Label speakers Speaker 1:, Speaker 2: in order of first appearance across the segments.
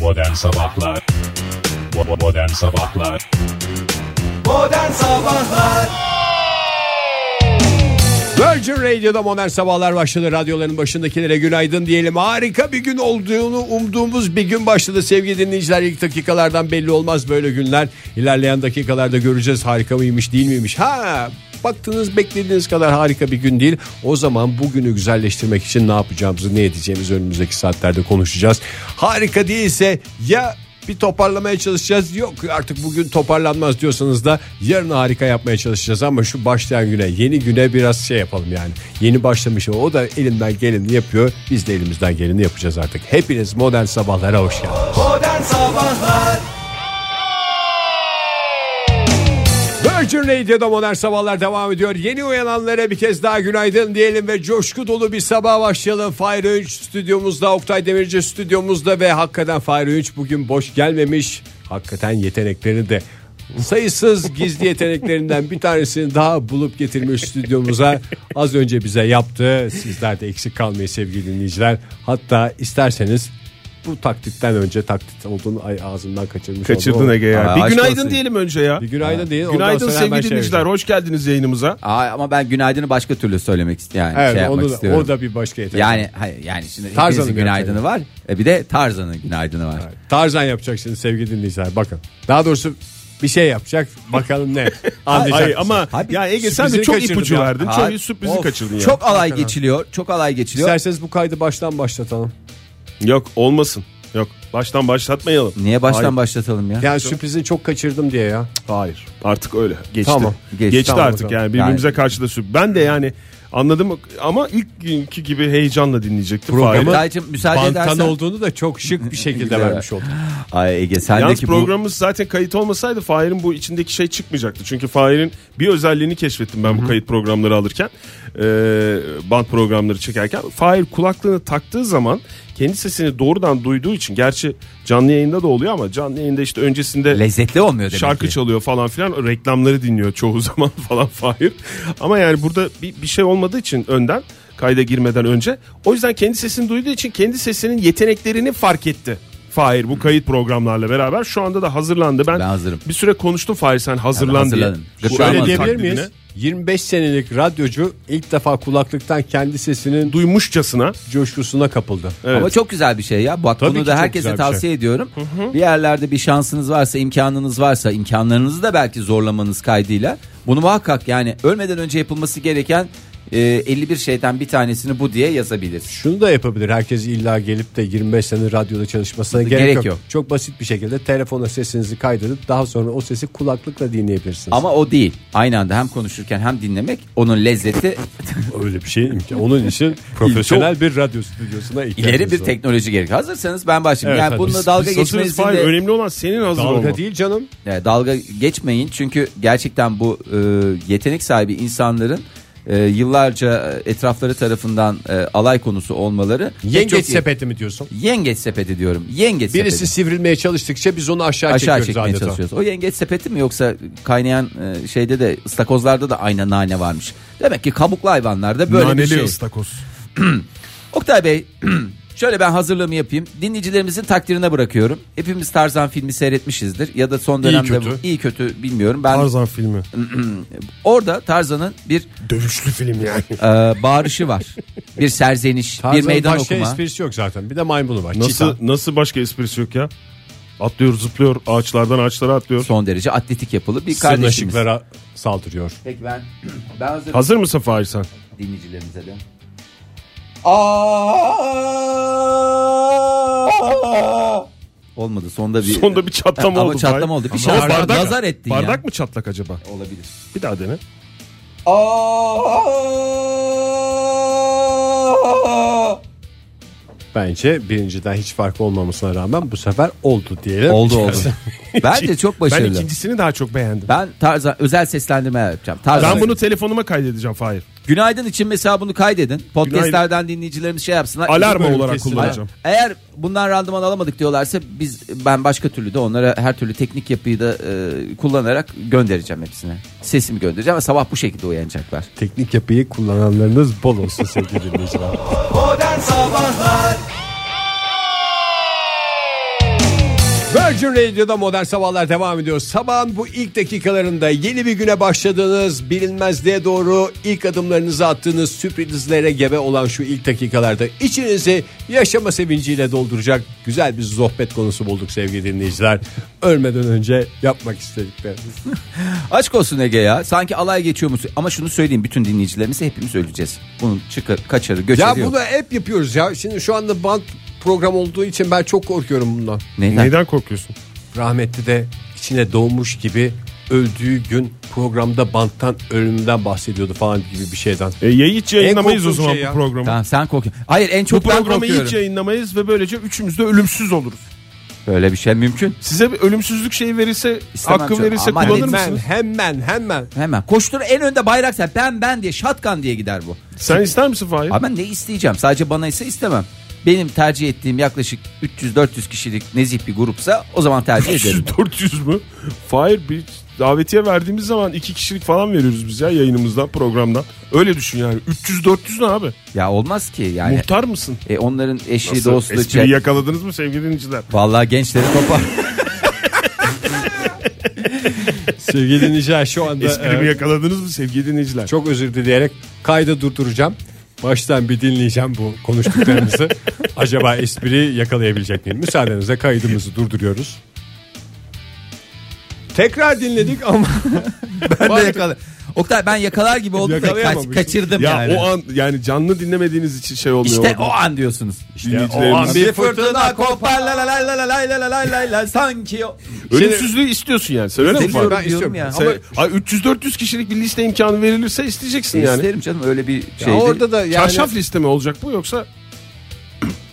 Speaker 1: Modern Sabahlar Bo- Modern Sabahlar
Speaker 2: Modern Sabahlar
Speaker 3: Virgin Radio'da modern sabahlar başladı. Radyoların başındakilere günaydın diyelim. Harika bir gün olduğunu umduğumuz bir gün başladı sevgili dinleyiciler. İlk dakikalardan belli olmaz böyle günler. İlerleyen dakikalarda göreceğiz harika mıymış değil miymiş. Ha baktınız beklediğiniz kadar harika bir gün değil. O zaman bugünü güzelleştirmek için ne yapacağımızı ne edeceğimizi önümüzdeki saatlerde konuşacağız. Harika değilse ya bir toparlamaya çalışacağız. Yok artık bugün toparlanmaz diyorsanız da yarın harika yapmaya çalışacağız ama şu başlayan güne yeni güne biraz şey yapalım yani. Yeni başlamış ama o da elinden geleni yapıyor. Biz de elimizden geleni yapacağız artık. Hepiniz modern sabahlara hoş geldiniz.
Speaker 2: Modern Sabahlar
Speaker 3: Virgin Radio'da modern sabahlar devam ediyor. Yeni uyananlara bir kez daha günaydın diyelim ve coşku dolu bir sabah başlayalım. Fahir Öğünç stüdyomuzda, Oktay Demirci stüdyomuzda ve hakikaten Fahir Öğünç bugün boş gelmemiş. Hakikaten yeteneklerini de sayısız gizli yeteneklerinden bir tanesini daha bulup getirmiş stüdyomuza. Az önce bize yaptı. Sizler de eksik kalmayın sevgili dinleyiciler. Hatta isterseniz bu taklitten önce taklit olduğunu ay ağzımdan kaçırmış
Speaker 4: Kaçırdın
Speaker 3: oldum.
Speaker 4: Ege ya.
Speaker 5: Aa,
Speaker 4: bir
Speaker 5: aşk
Speaker 4: günaydın
Speaker 5: olsun.
Speaker 4: diyelim önce ya.
Speaker 3: Bir günaydın değil. ondan
Speaker 4: Günaydın
Speaker 3: sonra hemen
Speaker 4: sevgili
Speaker 3: şey
Speaker 4: dinleyiciler.
Speaker 3: yapacağım.
Speaker 4: Hoş geldiniz yayınımıza.
Speaker 5: Aa, ama ben günaydını başka türlü söylemek istiyorum. Yani
Speaker 3: Evet,
Speaker 5: şey
Speaker 3: onu
Speaker 5: yapmak
Speaker 3: da,
Speaker 5: istiyorum.
Speaker 3: o da bir başka yetenek.
Speaker 5: Yani hayır, yani şimdi
Speaker 3: Tarzan'ın
Speaker 5: hepinizin günaydını
Speaker 3: günaydını.
Speaker 5: var. E bir de Tarzan'ın günaydını var.
Speaker 3: Tarzan yapacak şimdi sevgili dinleyiciler bakın. Daha doğrusu bir şey yapacak bakalım ne anlayacak.
Speaker 4: Ay
Speaker 3: mısın?
Speaker 4: ama
Speaker 5: Abi,
Speaker 4: ya Ege sen
Speaker 3: sürprizi
Speaker 4: de çok
Speaker 3: kaçırdım
Speaker 4: ipucu
Speaker 3: ya.
Speaker 4: verdin.
Speaker 5: Aa,
Speaker 4: Çok sürprizi
Speaker 5: of,
Speaker 4: kaçırdın ya.
Speaker 5: Çok alay geçiliyor. Çok alay geçiliyor.
Speaker 3: İsterseniz bu kaydı baştan başlatalım.
Speaker 4: Yok olmasın. Yok. Baştan başlatmayalım.
Speaker 5: Niye baştan
Speaker 4: Hayır,
Speaker 5: başlatalım ya?
Speaker 3: Yani sürprizi çok kaçırdım diye ya.
Speaker 4: Hayır. Artık öyle. Geçti.
Speaker 3: Tamam.
Speaker 4: Geçti,
Speaker 5: Geçti,
Speaker 3: tamam o
Speaker 4: artık
Speaker 3: zaman.
Speaker 4: yani birbirimize
Speaker 5: Yani-
Speaker 4: karşı da sür. Ben de yani anladım ama ilk günkü gibi heyecanla dinleyecektim.
Speaker 3: Programı-
Speaker 4: Fahir.
Speaker 5: Oktay'cığım müsaade
Speaker 3: Bantan
Speaker 5: edersen.
Speaker 3: olduğunu da çok şık bir şekilde
Speaker 5: Güzel.
Speaker 3: vermiş oldum.
Speaker 5: Ay Ege
Speaker 4: Yalnız
Speaker 5: sendeki bu
Speaker 4: programımız zaten kayıt olmasaydı Fahir'in bu içindeki şey çıkmayacaktı. Çünkü Fahir'in bir özelliğini keşfettim ben bu kayıt programları alırken. Ee, band programları çekerken. Fahir kulaklığını taktığı zaman kendi sesini doğrudan duyduğu için. Gerçi canlı yayında da oluyor ama canlı yayında işte öncesinde
Speaker 5: lezzetli olmuyor demek
Speaker 4: şarkı
Speaker 5: ki.
Speaker 4: çalıyor falan filan. Reklamları dinliyor çoğu zaman falan Fahir. Ama yani burada bir, bir şey olmadığı için önden kayda girmeden önce. O yüzden kendi sesini duyduğu için kendi sesinin yeteneklerini fark etti. Fahir bu kayıt programlarla beraber şu anda da hazırlandı. Ben,
Speaker 5: Ben hazırım.
Speaker 4: bir süre konuştum Fahir sen hazırlan diye.
Speaker 5: hazırladım.
Speaker 4: Bu
Speaker 5: Gıplamaz.
Speaker 4: öyle
Speaker 3: Şöyle diyebilir
Speaker 4: taklidine
Speaker 3: miyiz? 25 senelik radyocu ilk defa kulaklıktan kendi sesinin
Speaker 4: Duymuşçasına
Speaker 3: coşkusuna kapıldı.
Speaker 4: Evet.
Speaker 5: Ama çok güzel bir şey ya. Bak
Speaker 3: Tabii ki
Speaker 5: bunu da
Speaker 3: çok
Speaker 5: herkese
Speaker 3: güzel bir şey.
Speaker 5: tavsiye ediyorum. Bir yerlerde bir şansınız varsa, imkanınız varsa, imkanlarınızı da belki zorlamanız kaydıyla bunu muhakkak yani ölmeden önce yapılması gereken e, 51 şeyden bir tanesini bu diye yazabilir.
Speaker 3: Şunu da yapabilir. Herkes illa gelip de 25 sene radyoda çalışmasına gerek,
Speaker 5: Gerek
Speaker 3: yok.
Speaker 5: yok.
Speaker 3: Çok basit bir şekilde telefona sesinizi kaydedip daha sonra o sesi kulaklıkla dinleyebilirsiniz.
Speaker 5: Ama o değil. Aynı anda hem konuşurken hem dinlemek onun lezzeti
Speaker 3: Öyle bir şey imkan- Onun için profesyonel bir radyo stüdyosuna ihtiyacımız
Speaker 5: ileri bir
Speaker 3: var.
Speaker 5: teknoloji gerek. Hazırsanız ben başlayayım.
Speaker 3: Evet,
Speaker 5: yani
Speaker 3: hadi.
Speaker 5: bununla
Speaker 3: Biz-
Speaker 5: dalga
Speaker 4: Biz hazırız
Speaker 5: geçmenizin
Speaker 4: Fahir.
Speaker 5: de
Speaker 4: Önemli olan senin hazır
Speaker 3: Dalga
Speaker 4: olman.
Speaker 3: değil canım.
Speaker 5: Yani dalga geçmeyin çünkü gerçekten bu e, yetenek sahibi insanların e, yıllarca e, etrafları tarafından e, alay konusu olmaları pek
Speaker 3: Yengeç
Speaker 5: çok iyi-
Speaker 3: sepeti mi diyorsun?
Speaker 5: yengeç sepeti diyorum. Yengeç
Speaker 3: Birisi
Speaker 5: sepeti.
Speaker 3: sivrilmeye çalıştıkça biz onu aşağı,
Speaker 5: Aşağı
Speaker 3: çekiyoruz
Speaker 5: çekmeye
Speaker 3: adeta.
Speaker 5: çalışıyoruz. O yengeç sepeti mi yoksa kaynayan e, şeyde de ıstakozlarda da aynı nane varmış. Demek ki kabuklu hayvanlarda böyle bir
Speaker 4: Naneli
Speaker 5: şey.
Speaker 4: ıstakoz.
Speaker 5: Oktay Bey şöyle ben hazırlığımı yapayım. Dinleyicilerimizin takdirine bırakıyorum. Hepimiz Tarzan filmi seyretmişizdir. Ya da son dönemde
Speaker 4: kötü.
Speaker 5: bu- iyi kötü bilmiyorum. Ben
Speaker 4: Tarzan filmi.
Speaker 5: Orada Tarzan'ın bir
Speaker 4: Dövüşlü film yani.
Speaker 5: e, bağırışı var. Bir serzeniş, bir
Speaker 3: Tarzan'ın
Speaker 5: meydan
Speaker 3: başka
Speaker 5: okuma.
Speaker 3: esprisi yok zaten. Bir de maymunu var.
Speaker 4: Nasıl
Speaker 3: Çita.
Speaker 4: nasıl başka esprisi yok ya? Atlıyor, zıplıyor, ağaçlardan ağaçlara atlıyor.
Speaker 5: Son derece atletik yapılı bir kardeşimiz.
Speaker 3: Sırnaşıklara saldırıyor.
Speaker 5: Peki ben, ben hazırım
Speaker 4: Hazır mısın Fahir sen?
Speaker 5: dinleyicilerimize de. Aa! Olmadı sonda bir.
Speaker 4: Sonda bir
Speaker 5: Ama
Speaker 4: çatlama oldu.
Speaker 5: çatlama
Speaker 4: Fahir.
Speaker 5: oldu. Bir
Speaker 4: Ama
Speaker 5: şey
Speaker 4: bardak-
Speaker 5: bardak, nazar ettin ya.
Speaker 4: Bardak mı çatlak acaba?
Speaker 5: Olabilir.
Speaker 4: Bir daha dene.
Speaker 3: Bence birinciden hiç farkı olmamasına rağmen bu sefer oldu diyelim.
Speaker 5: Oldu oldu. Bence çok başarılı.
Speaker 4: Ben
Speaker 5: Ben,
Speaker 4: ikincisini daha çok beğendim.
Speaker 5: Tarzan özel seslendirme yapacağım.
Speaker 4: Ben,
Speaker 5: Tarzan.
Speaker 4: bunu telefonuma kaydedeceğim Fahir.
Speaker 5: Günaydın için mesela bunu kaydedin. Podcast'lerden dinleyicilerimiz şey yapsınlar.
Speaker 4: Alarm
Speaker 5: İki bölüm
Speaker 4: olarak
Speaker 3: kesinlikle.
Speaker 4: kullanacağım.
Speaker 5: Eğer bundan randıman alamadık diyorlarsa biz ben başka türlü de onlara her türlü teknik yapıyı da e, kullanarak göndereceğim hepsine. Sesimi göndereceğim ve sabah bu şekilde uyanacaklar.
Speaker 3: Teknik yapıyı kullananlarınız bol olsun sevgili dinleyiciler.
Speaker 2: Modern Sabahlar
Speaker 3: Virgin Radio'da modern sabahlar devam ediyor. Sabahın bu ilk dakikalarında yeni bir güne başladığınız bilinmezliğe doğru ilk adımlarınızı attığınız sürprizlere gebe olan şu ilk dakikalarda içinizi yaşama sevinciyle dolduracak güzel bir sohbet konusu bulduk sevgili dinleyiciler. Ölmeden önce yapmak istediklerimiz.
Speaker 5: Aşk olsun Ege ya. Sanki alay geçiyormuş. Ama şunu söyleyeyim bütün dinleyicilerimize hepimiz öleceğiz. Bunun çıkar, kaçarı göçeri
Speaker 3: Ya
Speaker 5: yok.
Speaker 3: bunu hep yapıyoruz ya. Şimdi şu anda band program olduğu için ben çok korkuyorum bundan.
Speaker 5: Neden?
Speaker 4: Neden korkuyorsun?
Speaker 3: rahmetli de içine doğmuş gibi öldüğü gün programda banttan ölümden bahsediyordu falan gibi bir şeyden.
Speaker 4: E, ya hiç yayınlamayız
Speaker 3: En
Speaker 4: o zaman
Speaker 3: korktuğum şey ya.
Speaker 4: bu programı.
Speaker 5: Tamam sen korkuyorsun. Hayır en
Speaker 4: Bu
Speaker 5: çok ben
Speaker 4: programı
Speaker 5: korkuyorum.
Speaker 4: hiç yayınlamayız ve böylece üçümüz de ölümsüz oluruz.
Speaker 5: Böyle bir şey mümkün.
Speaker 4: Size bir ölümsüzlük şeyi verirse,
Speaker 5: İstemem
Speaker 4: hakkı
Speaker 5: çok.
Speaker 4: verirse
Speaker 5: Aman
Speaker 4: kullanır
Speaker 5: lütfen.
Speaker 4: mısınız?
Speaker 3: Hani Hemen hemen hemen.
Speaker 5: Hemen koştur en önde bayrak sen ben ben diye şatkan diye gider bu.
Speaker 4: Sen ister misin Fahir?
Speaker 5: Ama ben ne isteyeceğim sadece bana ise istemem. Benim tercih ettiğim yaklaşık 300-400 kişilik nezih bir grupsa o zaman tercih ederim.
Speaker 4: 400 mü? Fahir bir davetiye verdiğimiz zaman iki kişilik falan veriyoruz biz ya yayınımızdan, programdan. Öyle düşün yani. 300-400 ne abi?
Speaker 5: ya olmaz ki yani.
Speaker 4: Muhtar mısın?
Speaker 5: E, onların eşi
Speaker 4: Nasıl?
Speaker 5: dostu.
Speaker 4: Espriyi
Speaker 5: çe-
Speaker 4: yakaladınız mı sevgili dinleyiciler?
Speaker 5: Vallahi gençleri topar.
Speaker 3: Sevgili dinleyiciler şu anda
Speaker 4: Esprimi
Speaker 3: e,
Speaker 4: yakaladınız mı sevgili dinleyiciler?
Speaker 3: çok özür dileyerek kaydı durduracağım. Baştan bir dinleyeceğim bu konuştuklarımızı. Acaba espriyi yakalayabilecek miyim? Müsaadenizle kaydımızı durduruyoruz. Tekrar dinledik ama
Speaker 5: ben de yakala. Oktay ben yakalar gibi oldum da kaç-
Speaker 3: Yakalayamamışım.
Speaker 5: kaçırdım
Speaker 4: ya
Speaker 5: yani.
Speaker 4: o an yani canlı dinlemediğiniz için şey olmuyor.
Speaker 5: işte
Speaker 4: orada.
Speaker 5: o an diyorsunuz.
Speaker 4: Dinleyicilerimiz-
Speaker 3: bir
Speaker 5: fırtına kopar la la la la la la la la la la sanki o.
Speaker 4: Ölümsüzlüğü istiyorsun yani. Söyle mi
Speaker 5: İstemiyorum
Speaker 4: Fahir?
Speaker 3: Ben istiyorum.
Speaker 5: diyorum ya.
Speaker 4: Sen- Ay 300-400 kişilik bir liste imkanı verilirse isteyeceksin
Speaker 5: Ama
Speaker 4: yani.
Speaker 5: isterim canım öyle bir şey.
Speaker 3: Ya
Speaker 5: değil.
Speaker 3: orada da yani
Speaker 4: Çarşaf liste mi olacak bu yoksa?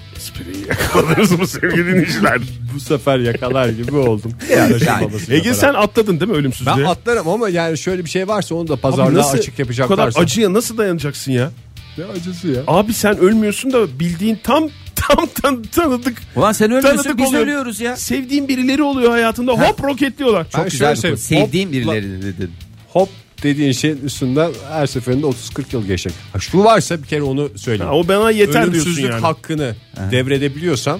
Speaker 4: Espriyi yakaladınız mı sevgili dinleyiciler?
Speaker 3: bu sefer yakalar gibi oldum. Anlaşılmamasıyla
Speaker 4: Ege sen atladın değil mi ölümsüzlüğe?
Speaker 3: Ben atlarım ama yani şöyle bir şey varsa onu da
Speaker 4: Abi
Speaker 3: pazarlığa açık
Speaker 4: Bu kadar
Speaker 3: yapacaklarsa.
Speaker 4: acıya nasıl dayanacaksın ya?
Speaker 3: Ne acısı ya?
Speaker 4: Abi sen ölmüyorsun da bildiğin tam tam tan tanıdık.
Speaker 5: Ulan sen ölmüyorsun
Speaker 4: Tanıdık
Speaker 5: biz
Speaker 4: oluyor.
Speaker 5: ölüyoruz ya.
Speaker 4: Sevdiğin birileri oluyor hayatında. Hop roketliyorlar.
Speaker 5: Çok
Speaker 3: Ben
Speaker 5: güzel bir
Speaker 3: şöyle
Speaker 5: konu.
Speaker 3: söyleyeyim.
Speaker 5: Sevdiğim
Speaker 3: Hop,
Speaker 5: birileri dedin.
Speaker 3: Hop dediğin şeyin üstünden her seferinde 30-40 yıl geçecek. Ha, şu varsa bir kere onu söyleyeyim.
Speaker 4: Ha, o bana yeter diyorsun
Speaker 3: Ölümsüzlük
Speaker 4: yani.
Speaker 3: hakkını devredebiliyorsan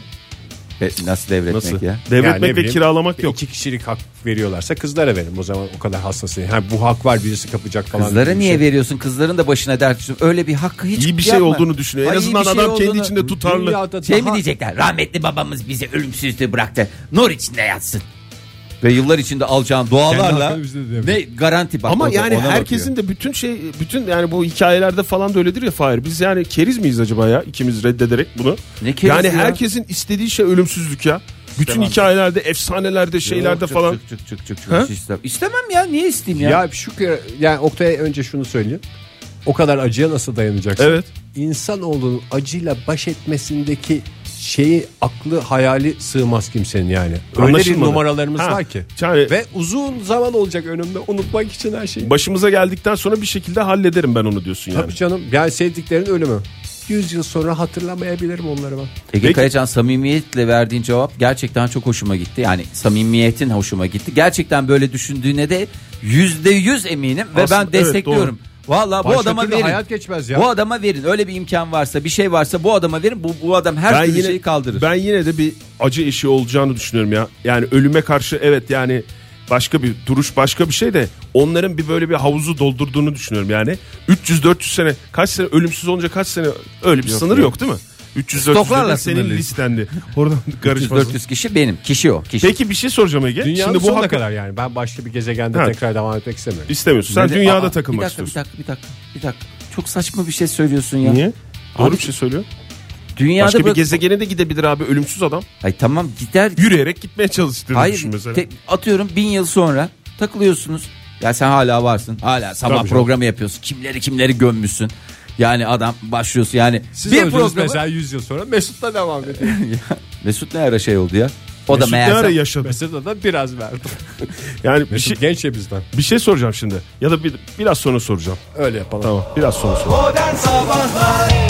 Speaker 5: E, Nasıl devretmek
Speaker 4: Nasıl?
Speaker 5: ya?
Speaker 4: Devretmek
Speaker 3: yani ne
Speaker 4: ve
Speaker 3: bileyim,
Speaker 4: kiralamak
Speaker 3: bir
Speaker 4: yok.
Speaker 3: İki kişilik hak veriyorlarsa kızlara verin. O zaman o kadar hassasın. Ha, bu hak var birisi kapacak falan.
Speaker 5: Kızlara
Speaker 3: gibi bir
Speaker 5: niye
Speaker 3: şey.
Speaker 5: veriyorsun? Kızların da başına dert düşün. Öyle bir hakkı hiç
Speaker 4: İyi bir şey
Speaker 5: yapma.
Speaker 4: olduğunu düşünüyor. En
Speaker 5: Ay, iyi
Speaker 4: azından
Speaker 5: bir şey
Speaker 4: adam kendi
Speaker 5: olduğunu-
Speaker 4: içinde tutarlı.
Speaker 3: Dünyada
Speaker 5: Şey mi
Speaker 3: daha-
Speaker 5: diyecekler? Rahmetli babamız bizi ölümsüzlüğü bıraktı. Nur içinde yatsın. Ve yıllar içinde alacağım
Speaker 3: Kendi
Speaker 5: dualarla
Speaker 3: hakkını bize de
Speaker 5: ve garanti bak.
Speaker 4: Ama
Speaker 5: o da
Speaker 4: yani
Speaker 5: ona bakıyor.
Speaker 4: herkesin de bütün şey bütün yani bu hikayelerde falan da öyledir ya Fahir. Biz yani keriz miyiz acaba ya ikimiz reddederek bunu?
Speaker 5: Ne keriz
Speaker 4: yani
Speaker 5: ya?
Speaker 4: herkesin istediği şey ölümsüzlük ya. Bütün hikayelerde, efsanelerde, şeylerde
Speaker 5: Yok, çık,
Speaker 4: falan.
Speaker 5: çık, çık, çık, çık, çık.
Speaker 4: Ha?
Speaker 5: İstemem. İstemem ya. Niye isteyeyim ya?
Speaker 3: Ya şu kere- yani Oktay'a önce şunu söyleyeyim. O kadar acıya nasıl dayanacaksın?
Speaker 4: Evet.
Speaker 3: İnsanoğlunun acıyla baş etmesindeki şeyi aklı hayali sığmaz kimsenin yani. Öyle bir
Speaker 4: Anlaşılmadı.
Speaker 3: numaralarımız
Speaker 4: Ha,
Speaker 3: var ki.
Speaker 4: yani-
Speaker 3: Ve uzun zaman olacak önümde unutmak için her şeyi.
Speaker 4: Başımıza geldikten sonra bir şekilde hallederim ben onu diyorsun yani.
Speaker 3: Tabii canım yani sevdiklerin ölümü. 100 yıl sonra hatırlamayabilirim onları ben.
Speaker 5: Ege
Speaker 4: Peki-
Speaker 5: Kayacan samimiyetle verdiğin cevap gerçekten çok hoşuma gitti. Yani samimiyetin hoşuma gitti. Gerçekten böyle düşündüğüne de yüzde yüz eminim ve
Speaker 4: Aslında
Speaker 5: ben
Speaker 4: evet,
Speaker 5: destekliyorum. Vallahi bu
Speaker 3: Başka
Speaker 5: adama
Speaker 3: türlü
Speaker 5: verin.
Speaker 3: hayat geçmez ya.
Speaker 5: Bu adama verin. Öyle bir imkan varsa, bir şey varsa bu adama verin. Bu bu adam her türlü şeyi kaldırır.
Speaker 4: Ben yine de bir acı eşiği olacağını düşünüyorum ya. Yani ölüme karşı evet yani başka bir duruş başka bir şey de onların bir böyle bir havuzu doldurduğunu düşünüyorum yani. 300-400 sene kaç sene ölümsüz olunca kaç sene öyle bir sınır yok. değil mi? 300
Speaker 5: Stoklarla
Speaker 4: 400 senin
Speaker 5: sınırlıyız.
Speaker 4: listendi. Oradan karışmasın.
Speaker 5: 400 kişi benim. Kişi o. Kişi.
Speaker 4: Peki bir şey soracağım Ege.
Speaker 3: Dünyanın
Speaker 4: Şimdi bu
Speaker 3: sonuna
Speaker 4: hakkı
Speaker 3: kadar yani. Ben başka bir gezegende
Speaker 4: Ha.
Speaker 3: tekrar devam etmek istemiyorum.
Speaker 4: istemiyorsun. Sen
Speaker 5: Neden-
Speaker 4: dünyada
Speaker 5: Aa,
Speaker 4: takılmak
Speaker 5: bir dakika,
Speaker 4: istiyorsun.
Speaker 5: Bir dakika, bir dakika, bir dakika. Çok saçma bir şey söylüyorsun ya.
Speaker 4: Niye? Doğru
Speaker 5: Abi-
Speaker 4: bir şey söylüyor.
Speaker 5: Dünyada
Speaker 4: Başka bir
Speaker 5: bırak-
Speaker 4: gezegene de gidebilir abi ölümsüz adam.
Speaker 5: Ay tamam gider.
Speaker 4: Yürüyerek gitmeye çalıştığını
Speaker 5: Hayır.
Speaker 4: düşün mesela.
Speaker 5: te- atıyorum bin yıl sonra takılıyorsunuz. Ya sen hala varsın. Hala sabah
Speaker 4: Tabii canım.
Speaker 5: programı yapıyorsun. Kimleri kimleri gömmüşsün. Yani adam başlıyorsun yani.
Speaker 3: Siz
Speaker 5: bir
Speaker 3: öldünüz
Speaker 5: programı.
Speaker 3: mesela 100 yıl sonra Mesut'la devam ediyor.
Speaker 5: Mesut ne ara şey oldu ya? O
Speaker 4: Mesut
Speaker 5: da
Speaker 4: ne
Speaker 5: meğerse
Speaker 4: ara yaşadı?
Speaker 3: Mesut'a da biraz verdim.
Speaker 4: Yani bir şey,
Speaker 3: Mesut genç ya bizden.
Speaker 4: Bir şey soracağım şimdi. Ya da bir, biraz sonra soracağım.
Speaker 3: Öyle yapalım.
Speaker 4: Tamam. Biraz sonra soracağım.
Speaker 2: Modern Sabahlar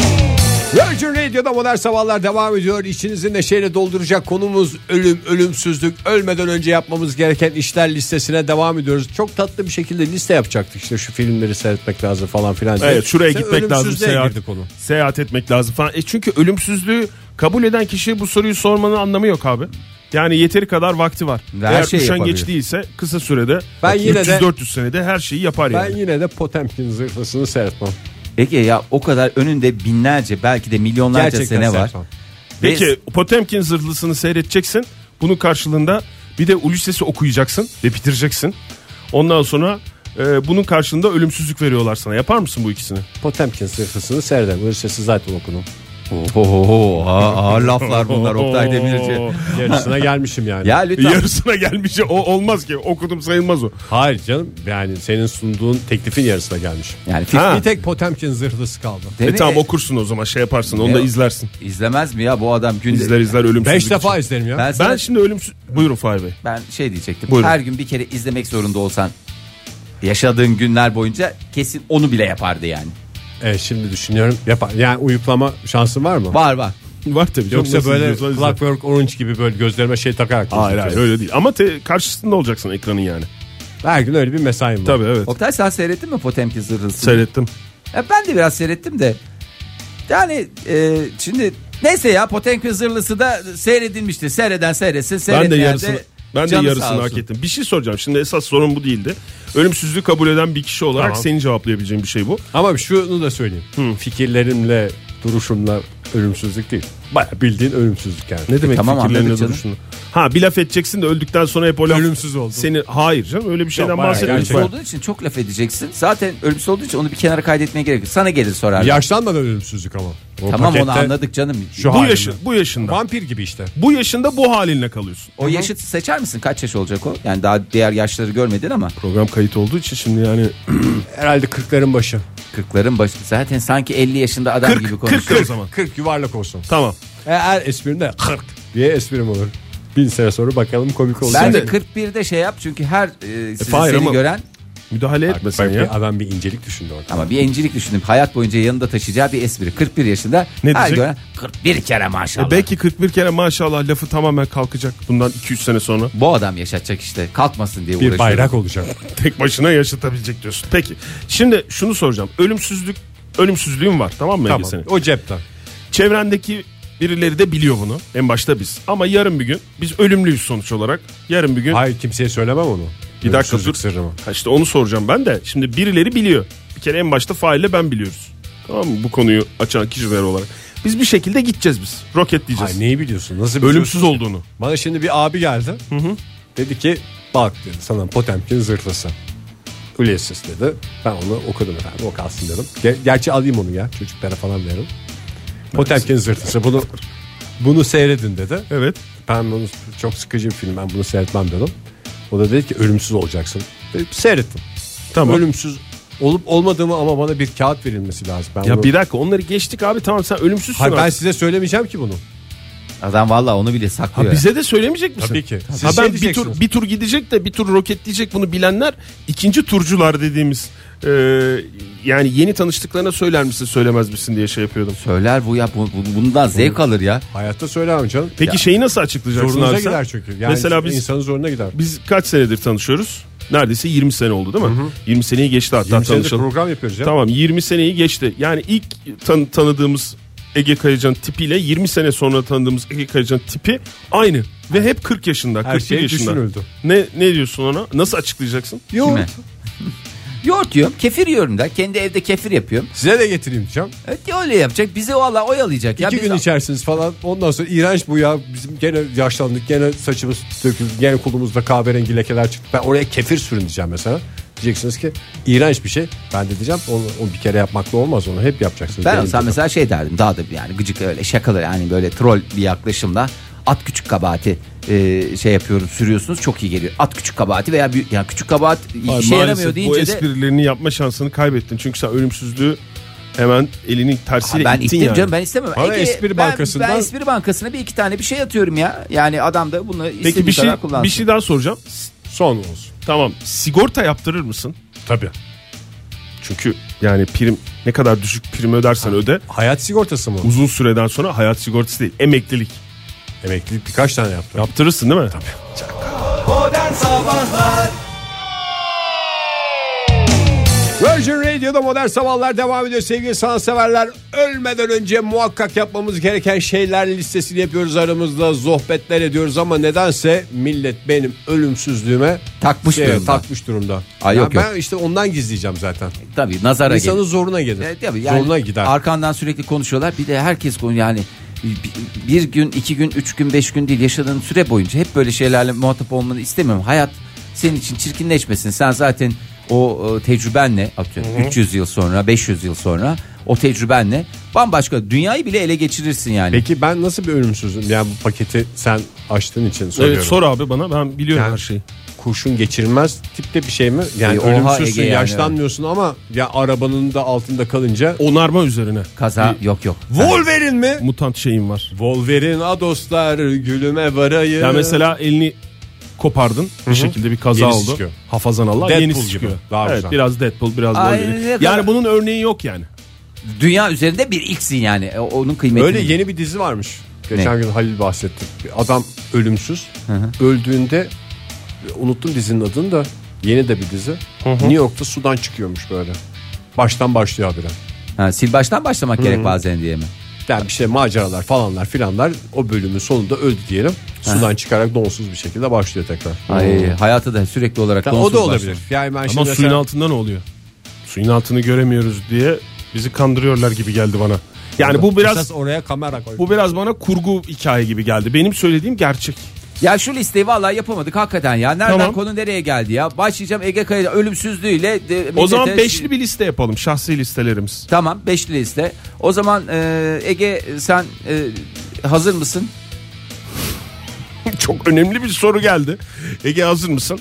Speaker 3: Virgin Radio'da modern sabahlar devam ediyor. İçinizi neşeyle dolduracak konumuz ölüm, ölümsüzlük, ölmeden önce yapmamız gereken işler listesine devam ediyoruz. Çok tatlı bir şekilde liste yapacaktık işte şu filmleri seyretmek lazım falan filan. diye.
Speaker 4: Evet şuraya
Speaker 3: Sen
Speaker 4: gitmek lazım.
Speaker 3: ölümsüzlüğe
Speaker 4: Seyahat,
Speaker 3: girdi konu.
Speaker 4: seyahat etmek lazım falan. E çünkü ölümsüzlüğü kabul eden kişiye bu soruyu sormanın anlamı yok abi. Yani yeteri kadar vakti var.
Speaker 5: Ve her
Speaker 4: Eğer
Speaker 5: şeyi
Speaker 4: üşen
Speaker 5: yapabilir.
Speaker 4: geç değilse kısa sürede
Speaker 3: Ben yine de-
Speaker 4: 300-400 senede her şeyi yapar
Speaker 3: Ben
Speaker 4: yani.
Speaker 3: yine de Potemkin zırhlısını seyretmem.
Speaker 5: Ege ya o kadar önünde binlerce belki de milyonlarca
Speaker 3: Gerçekten
Speaker 5: sene var.
Speaker 3: seyretmem.
Speaker 4: Peki
Speaker 5: Ve-
Speaker 4: Potemkin zırhlısını seyredeceksin. Bunun karşılığında bir de Ulysses'i okuyacaksın ve bitireceksin. Ondan sonra e, bunun karşılığında ölümsüzlük veriyorlar sana. Yapar mısın bu ikisini?
Speaker 3: Potemkin zırhlısını seyredem. Hırsesi zaten okudum.
Speaker 5: Ohoho, ağır, ağır laflar bunlar Oktay Demirci.
Speaker 3: Yarısına gelmişim yani.
Speaker 5: Ya lütfen.
Speaker 4: Yarısına gelmiş o olmaz ki. Okudum sayılmaz o. E,
Speaker 3: Hayır canım yani senin sunduğun teklifin yarısına gelmiş.
Speaker 5: Yani
Speaker 4: Ha.
Speaker 3: Bir tek Potemkin zırhlısı kaldı.
Speaker 5: Değil
Speaker 4: E
Speaker 5: mi?
Speaker 4: tamam okursun o zaman şey yaparsın onu
Speaker 5: Ne
Speaker 4: da
Speaker 5: o?
Speaker 4: izlersin.
Speaker 5: İzlemez mi ya bu adam günde?
Speaker 4: İzler izler ölümsüzlük.
Speaker 3: Beş defa
Speaker 4: için.
Speaker 3: izlerim ya.
Speaker 5: Ben, sana-
Speaker 4: Ben
Speaker 5: ben,
Speaker 4: şimdi ölümsüz... Buyurun Fahir Bey.
Speaker 5: şey diyecektim.
Speaker 4: Buyurun.
Speaker 5: Her gün bir kere izlemek zorunda olsan yaşadığın günler boyunca kesin onu bile yapardı yani.
Speaker 3: E, şimdi düşünüyorum. Yapar. Yani uyuklama şansın var mı?
Speaker 5: Var var.
Speaker 4: Var tabii.
Speaker 3: Yoksa böyle Clockwork Orange gibi böyle gözlerime şey takarak. mı
Speaker 4: Hayır hayır
Speaker 3: izleyeceğim?
Speaker 4: öyle değil. Ama te- karşısında olacaksın ekranın yani.
Speaker 3: Her gün öyle bir mesaim var.
Speaker 4: Tabii evet.
Speaker 5: Oktay sen seyrettin mi Potemkin zırhlısı?
Speaker 4: Seyrettim.
Speaker 5: Ya ben de biraz seyrettim de. Yani e, şimdi neyse ya Potemkin zırhlısı da seyredilmiştir. Seyreden seyretsin.
Speaker 4: Ben de
Speaker 5: seyretmeyen
Speaker 4: yarısını ben de
Speaker 5: canı sağ
Speaker 4: yarısını
Speaker 5: olsun.
Speaker 4: hak ettim. Bir şey soracağım. Şimdi esas sorun bu değildi. Ölümsüzlüğü kabul eden bir kişi olarak
Speaker 3: Tamam.
Speaker 4: senin cevaplayabileceğin bir şey bu.
Speaker 3: Ama şunu da söyleyeyim. Fikirlerimle duruşumla ölümsüzlük değil. Baya bildiğin ölümsüzlük yani. E,
Speaker 4: Ne demek
Speaker 5: tamam,
Speaker 4: fikirlerine
Speaker 5: anladık canım.
Speaker 4: duruşunu? Ha bir laf edeceksin de öldükten sonra hep o laf...
Speaker 3: Ölümsüz oldun.
Speaker 4: Seni... Hayır canım öyle bir şeyden
Speaker 3: bayağı
Speaker 4: bahsetmiyorum.
Speaker 5: Ölümsüz olduğun için çok laf edeceksin. Zaten ölümsüz olduğu için onu bir kenara kaydetmeye gerek yok. Sana gelir sorar.
Speaker 3: Yaşlanmadan ölümsüzlük ama. O
Speaker 5: tamam
Speaker 3: pakette
Speaker 5: onu anladık canım.
Speaker 3: Şu
Speaker 4: Bu,
Speaker 3: halinde.
Speaker 4: yaşı, bu yaşında.
Speaker 3: Vampir gibi işte.
Speaker 4: Bu yaşında bu halinle kalıyorsun.
Speaker 5: O yaşı seçer misin? Kaç yaş olacak o? Yani daha diğer yaşları görmedin ama
Speaker 4: Program kayıt olduğu için şimdi yani...
Speaker 3: Herhalde kırkların başı.
Speaker 5: 40'ların başı. Zaten sanki 50 yaşında adam
Speaker 4: 40,
Speaker 5: gibi
Speaker 4: 40 o
Speaker 5: konuşuyor.
Speaker 4: zaman.
Speaker 3: Kırk yuvarlak olsun.
Speaker 4: Tamam.
Speaker 3: Eğer esprim de kırk diye esprim olur. Bin sene sonra bakalım komik olacak.
Speaker 5: Bence
Speaker 3: mı?
Speaker 5: 41'de şey yap çünkü her e, sizi,
Speaker 4: Fahir
Speaker 5: seni
Speaker 4: ama-
Speaker 5: gören
Speaker 4: Müdahale etme sen
Speaker 3: Bak,
Speaker 4: ya.
Speaker 3: bir Adam bir incelik düşündü orada.
Speaker 5: ama bir encilik düşündüm. Hayat boyunca yanında taşıyacağı bir espri. 41 yaşında
Speaker 4: Ne
Speaker 5: her
Speaker 4: diyecek?
Speaker 5: gören 41 kere maşallah.
Speaker 4: E belki 41 kere maşallah lafı tamamen kalkacak bundan 200 sene sonra.
Speaker 5: Bu adam yaşatacak işte. Kalkmasın diye uğraşıyor.
Speaker 3: Bir bayrak olacak.
Speaker 4: Tek başına yaşatabilecek diyorsun. Peki şimdi şunu soracağım. Ölümsüzlük ölümsüzlüğün var tamam mı Ege
Speaker 3: tamam.
Speaker 4: senin?
Speaker 3: O cepten.
Speaker 4: Çevrendeki birileri de biliyor bunu. En başta biz. Ama yarın bir gün biz ölümlüyüz sonuç olarak. Yarın bir gün
Speaker 3: Hayır kimseye söylemem onu.
Speaker 4: bir dakika
Speaker 3: Ölümsüzlük
Speaker 4: dur.
Speaker 3: sırrımı.
Speaker 4: Ha işte onu soracağım ben de. Şimdi birileri biliyor. Bir kere en başta faille ben biliyoruz. Tamam mı? Bu konuyu açan kişiler olarak. Biz bir şekilde gideceğiz biz. Roketleyeceğiz.
Speaker 3: Ay, neyi biliyorsun? Nasıl biliyorsun?
Speaker 4: Ölümsüz olduğunu.
Speaker 3: Bana şimdi bir abi geldi. Dedi ki bak dedi sana Potemkin zırhlısı. Ulysses dedi. Ben onu okudum efendim o kalsın dedim. Ger- gerçi alayım onu ya çocuklara falan veririm. Potemkin zırhlısı bunu bunu seyredin dedi.
Speaker 4: Evet.
Speaker 3: Ben bunu çok sıkıcı bir film ben bunu seyretmem dedim. O da dedi ki ölümsüz olacaksın. Dedim, Seyrettim.
Speaker 4: Tamam.
Speaker 3: Ölümsüz olup olmadığımı ama bana bir kağıt verilmesi lazım. Ben
Speaker 4: Ya
Speaker 3: bunu-
Speaker 4: bir dakika onları geçtik abi tamam sen ölümsüzsün
Speaker 3: Hayır, ben
Speaker 4: artık.
Speaker 3: size söylemeyeceğim ki bunu.
Speaker 5: Adam valla onu bile
Speaker 4: Ha,
Speaker 5: saklıyor.
Speaker 4: bize de söylemeyecek misin?
Speaker 3: Tabii ki. Siz
Speaker 4: Ha,
Speaker 3: şey
Speaker 4: ben bir
Speaker 3: diyeceksiniz.
Speaker 4: tur bir tur gidecek de bir tur roketleyecek bunu bilenler ikinci turcular dediğimiz e, yani yeni tanıştıklarına söyler misin söylemez misin diye şey yapıyordum.
Speaker 5: Söyler bu ya bu- bu- bundan zevk alır ya.
Speaker 3: Hayatta söylemem canım.
Speaker 4: Peki şeyi nasıl açıklayacaksın
Speaker 3: Zorunuza
Speaker 4: abi sen?
Speaker 3: gider çünkü. Yani
Speaker 4: Mesela biz
Speaker 3: insanın zoruna gider.
Speaker 4: biz kaç senedir tanışıyoruz? Neredeyse 20 sene oldu değil mi? 20 seneyi geçti hatta
Speaker 3: 20 senedir
Speaker 4: tanışalım.
Speaker 3: program yapıyoruz ya.
Speaker 4: Tamam 20 seneyi geçti. Yani ilk tan- tanıdığımız Ege Kayacan tipiyle 20 sene sonra tanıdığımız Ege Kayacan tipi aynı. Ve hep 40 yaşında, 41
Speaker 3: şey
Speaker 4: yaşında.
Speaker 3: düşünüldü.
Speaker 4: Ne ne diyorsun ona? Nasıl açıklayacaksın?
Speaker 5: Kime? Yoğurt yiyorum, kefir yiyorum da. Kendi evde kefir yapıyorum.
Speaker 3: Size de getireyim diyeceğim.
Speaker 5: Evet, öyle yapacak. Bizi valla oyalayacak. ya.
Speaker 3: İki
Speaker 5: Biz-
Speaker 3: gün içersiniz falan. Ondan sonra iğrenç bu ya. Bizim gene yaşlandık. Gene saçımız döküldü. Gene kolumuzda kahverengi lekeler çıktı. Ben oraya kefir sürün diyeceğim mesela. Diyeceksiniz ki iğrenç bir şey. Ben de diyeceğim onu, o bir kere yapmakla olmaz. Onu hep yapacaksınız.
Speaker 5: Ben
Speaker 3: Benim
Speaker 5: olsam
Speaker 3: gibi.
Speaker 5: mesela şey derdim. Daha da yani gıcık öyle şakalı yani böyle troll bir yaklaşımla at küçük kabahati e, şey yapıyorum sürüyorsunuz çok iyi geliyor. At küçük kabahati veya büyük yani küçük kabahat
Speaker 4: Ay,
Speaker 5: işe yaramıyor
Speaker 4: maalesef bu
Speaker 5: deyince de
Speaker 4: esprilerini yapma şansını kaybettin. Çünkü sen ölümsüzlüğü hemen elinin
Speaker 5: Ha,
Speaker 4: tersiyle
Speaker 5: ben
Speaker 4: ittin
Speaker 5: ittim
Speaker 4: yani.
Speaker 5: canım ben istemem.
Speaker 3: Bana
Speaker 5: Ege, ben,
Speaker 3: espri bankasından-
Speaker 5: ben espri bankasına bir iki tane bir şey atıyorum ya. Yani adam da bunu istediği
Speaker 4: Peki bir şey
Speaker 5: kadar kullansın.
Speaker 4: bir şey daha soracağım. S-
Speaker 3: Son olsun.
Speaker 4: Tamam. Sigorta yaptırır mısın?
Speaker 3: Tabii.
Speaker 4: Çünkü yani prim ne kadar düşük prim ödersen öde
Speaker 3: Hayat sigortası mı?
Speaker 4: uzun süreden sonra hayat sigortası değil emeklilik
Speaker 3: Emeklilik birkaç tane yaptım.
Speaker 4: yaptırırsın değil mi? Tabii.
Speaker 2: Modern Sabahlar
Speaker 3: Virgin Radio'da modern sabahlar devam ediyor sevgili sanatseverler. Ölmeden önce muhakkak yapmamız gereken şeyler listesini yapıyoruz aramızda sohbetler ediyoruz ama nedense millet benim ölümsüzlüğüme
Speaker 5: Takmış
Speaker 3: şey,
Speaker 5: durumda.
Speaker 3: takmış durumda.
Speaker 5: Ay,
Speaker 3: Ya
Speaker 5: yok, yok.
Speaker 3: ben işte ondan gizleyeceğim zaten.
Speaker 5: Tabii nazara gelir.
Speaker 3: İnsanın zoruna gelir.
Speaker 5: Evet, E, tabii yani
Speaker 3: zoruna gider.
Speaker 5: Arkandan sürekli konuşuyorlar. Bir de herkes konu yani bir- bir gün, iki gün, üç gün, beş gün değil yaşadığın süre boyunca hep böyle şeylerle muhatap olmanı istemiyorum. Hayat senin için çirkinleşmesin. Sen zaten o e, tecrübenle atıyorum 300 yıl sonra, 500 yıl sonra o tecrübenle bambaşka dünyayı bile ele geçirirsin yani.
Speaker 3: Peki ben nasıl bir ölümsüzüm? Yani bu paketi sen açtığın için soruyorum.
Speaker 4: Evet sor abi bana ben biliyorum
Speaker 3: Yani
Speaker 4: her şeyi.
Speaker 3: kurşun geçirmez tipte bir şey mi? Yani
Speaker 5: E, oha
Speaker 3: ölümsüzsün
Speaker 5: Ege yani.
Speaker 3: yaşlanmıyorsun ama ya arabanın da altında kalınca.
Speaker 4: Onarma üzerine.
Speaker 5: Kaza yok yok.
Speaker 3: Wolverine mi?
Speaker 4: Mutant şeyim var.
Speaker 3: Wolverine a dostlar gülüme varayım.
Speaker 4: Ya mesela elini kopardın bir şekilde bir kaza
Speaker 3: Yenisi
Speaker 4: oldu.
Speaker 3: çıkıyor.
Speaker 4: Hafazan Allah
Speaker 3: Deadpool
Speaker 4: yenisi
Speaker 3: gibi.
Speaker 4: çıkıyor.
Speaker 3: Daha
Speaker 4: evet,
Speaker 3: güzel.
Speaker 4: biraz Deadpool biraz
Speaker 5: Ay,
Speaker 4: Wolverine.
Speaker 5: ne
Speaker 4: Yani
Speaker 5: kadar-
Speaker 4: bunun örneği yok yani.
Speaker 5: Dünya üzerinde bir ilksin yani. E, Onun kıymetini.
Speaker 3: Öyle yeni bir dizi varmış. Geçen
Speaker 5: Ne?
Speaker 3: gün Halil bahsetti. Bir Adam ölümsüz. Öldüğünde unuttum dizinin adını da yeni de bir dizi. New York'ta sudan çıkıyormuş böyle. Baştan başlıyor habire.
Speaker 5: Ha, sil baştan başlamak gerek bazen diye mi?
Speaker 3: Yani bir şey maceralar falanlar filanlar o bölümün sonunda öldü diyelim. Sudan çıkarak donsuz bir şekilde başlıyor tekrar.
Speaker 5: Ay, hayata da sürekli olarak
Speaker 3: Ya o
Speaker 5: donsuz
Speaker 3: da
Speaker 5: başlamak.
Speaker 3: olabilir. Yani ben
Speaker 5: şey
Speaker 4: Ama
Speaker 3: şimdi
Speaker 4: suyun
Speaker 3: mesela-
Speaker 4: altında ne oluyor? Suyun altını göremiyoruz diye bizi kandırıyorlar gibi geldi bana. Yani bu biraz
Speaker 3: Esas oraya kamera koy.
Speaker 4: bu biraz bana kurgu hikaye gibi geldi. Benim söylediğim gerçek.
Speaker 5: Ya şu listeyi vallahi yapamadık hakikaten ya. Nereden
Speaker 4: Tamam.
Speaker 5: konu nereye geldi ya? Başlayacağım Ege Kaya'da ölümsüzlüğüyle. de-
Speaker 4: O zaman
Speaker 5: millete- şey-
Speaker 4: beşli bir liste yapalım şahsi listelerimiz.
Speaker 5: Tamam beşli liste. O zaman e, Ege sen e, hazır mısın?
Speaker 4: Çok önemli bir soru geldi. Ege hazır mısın?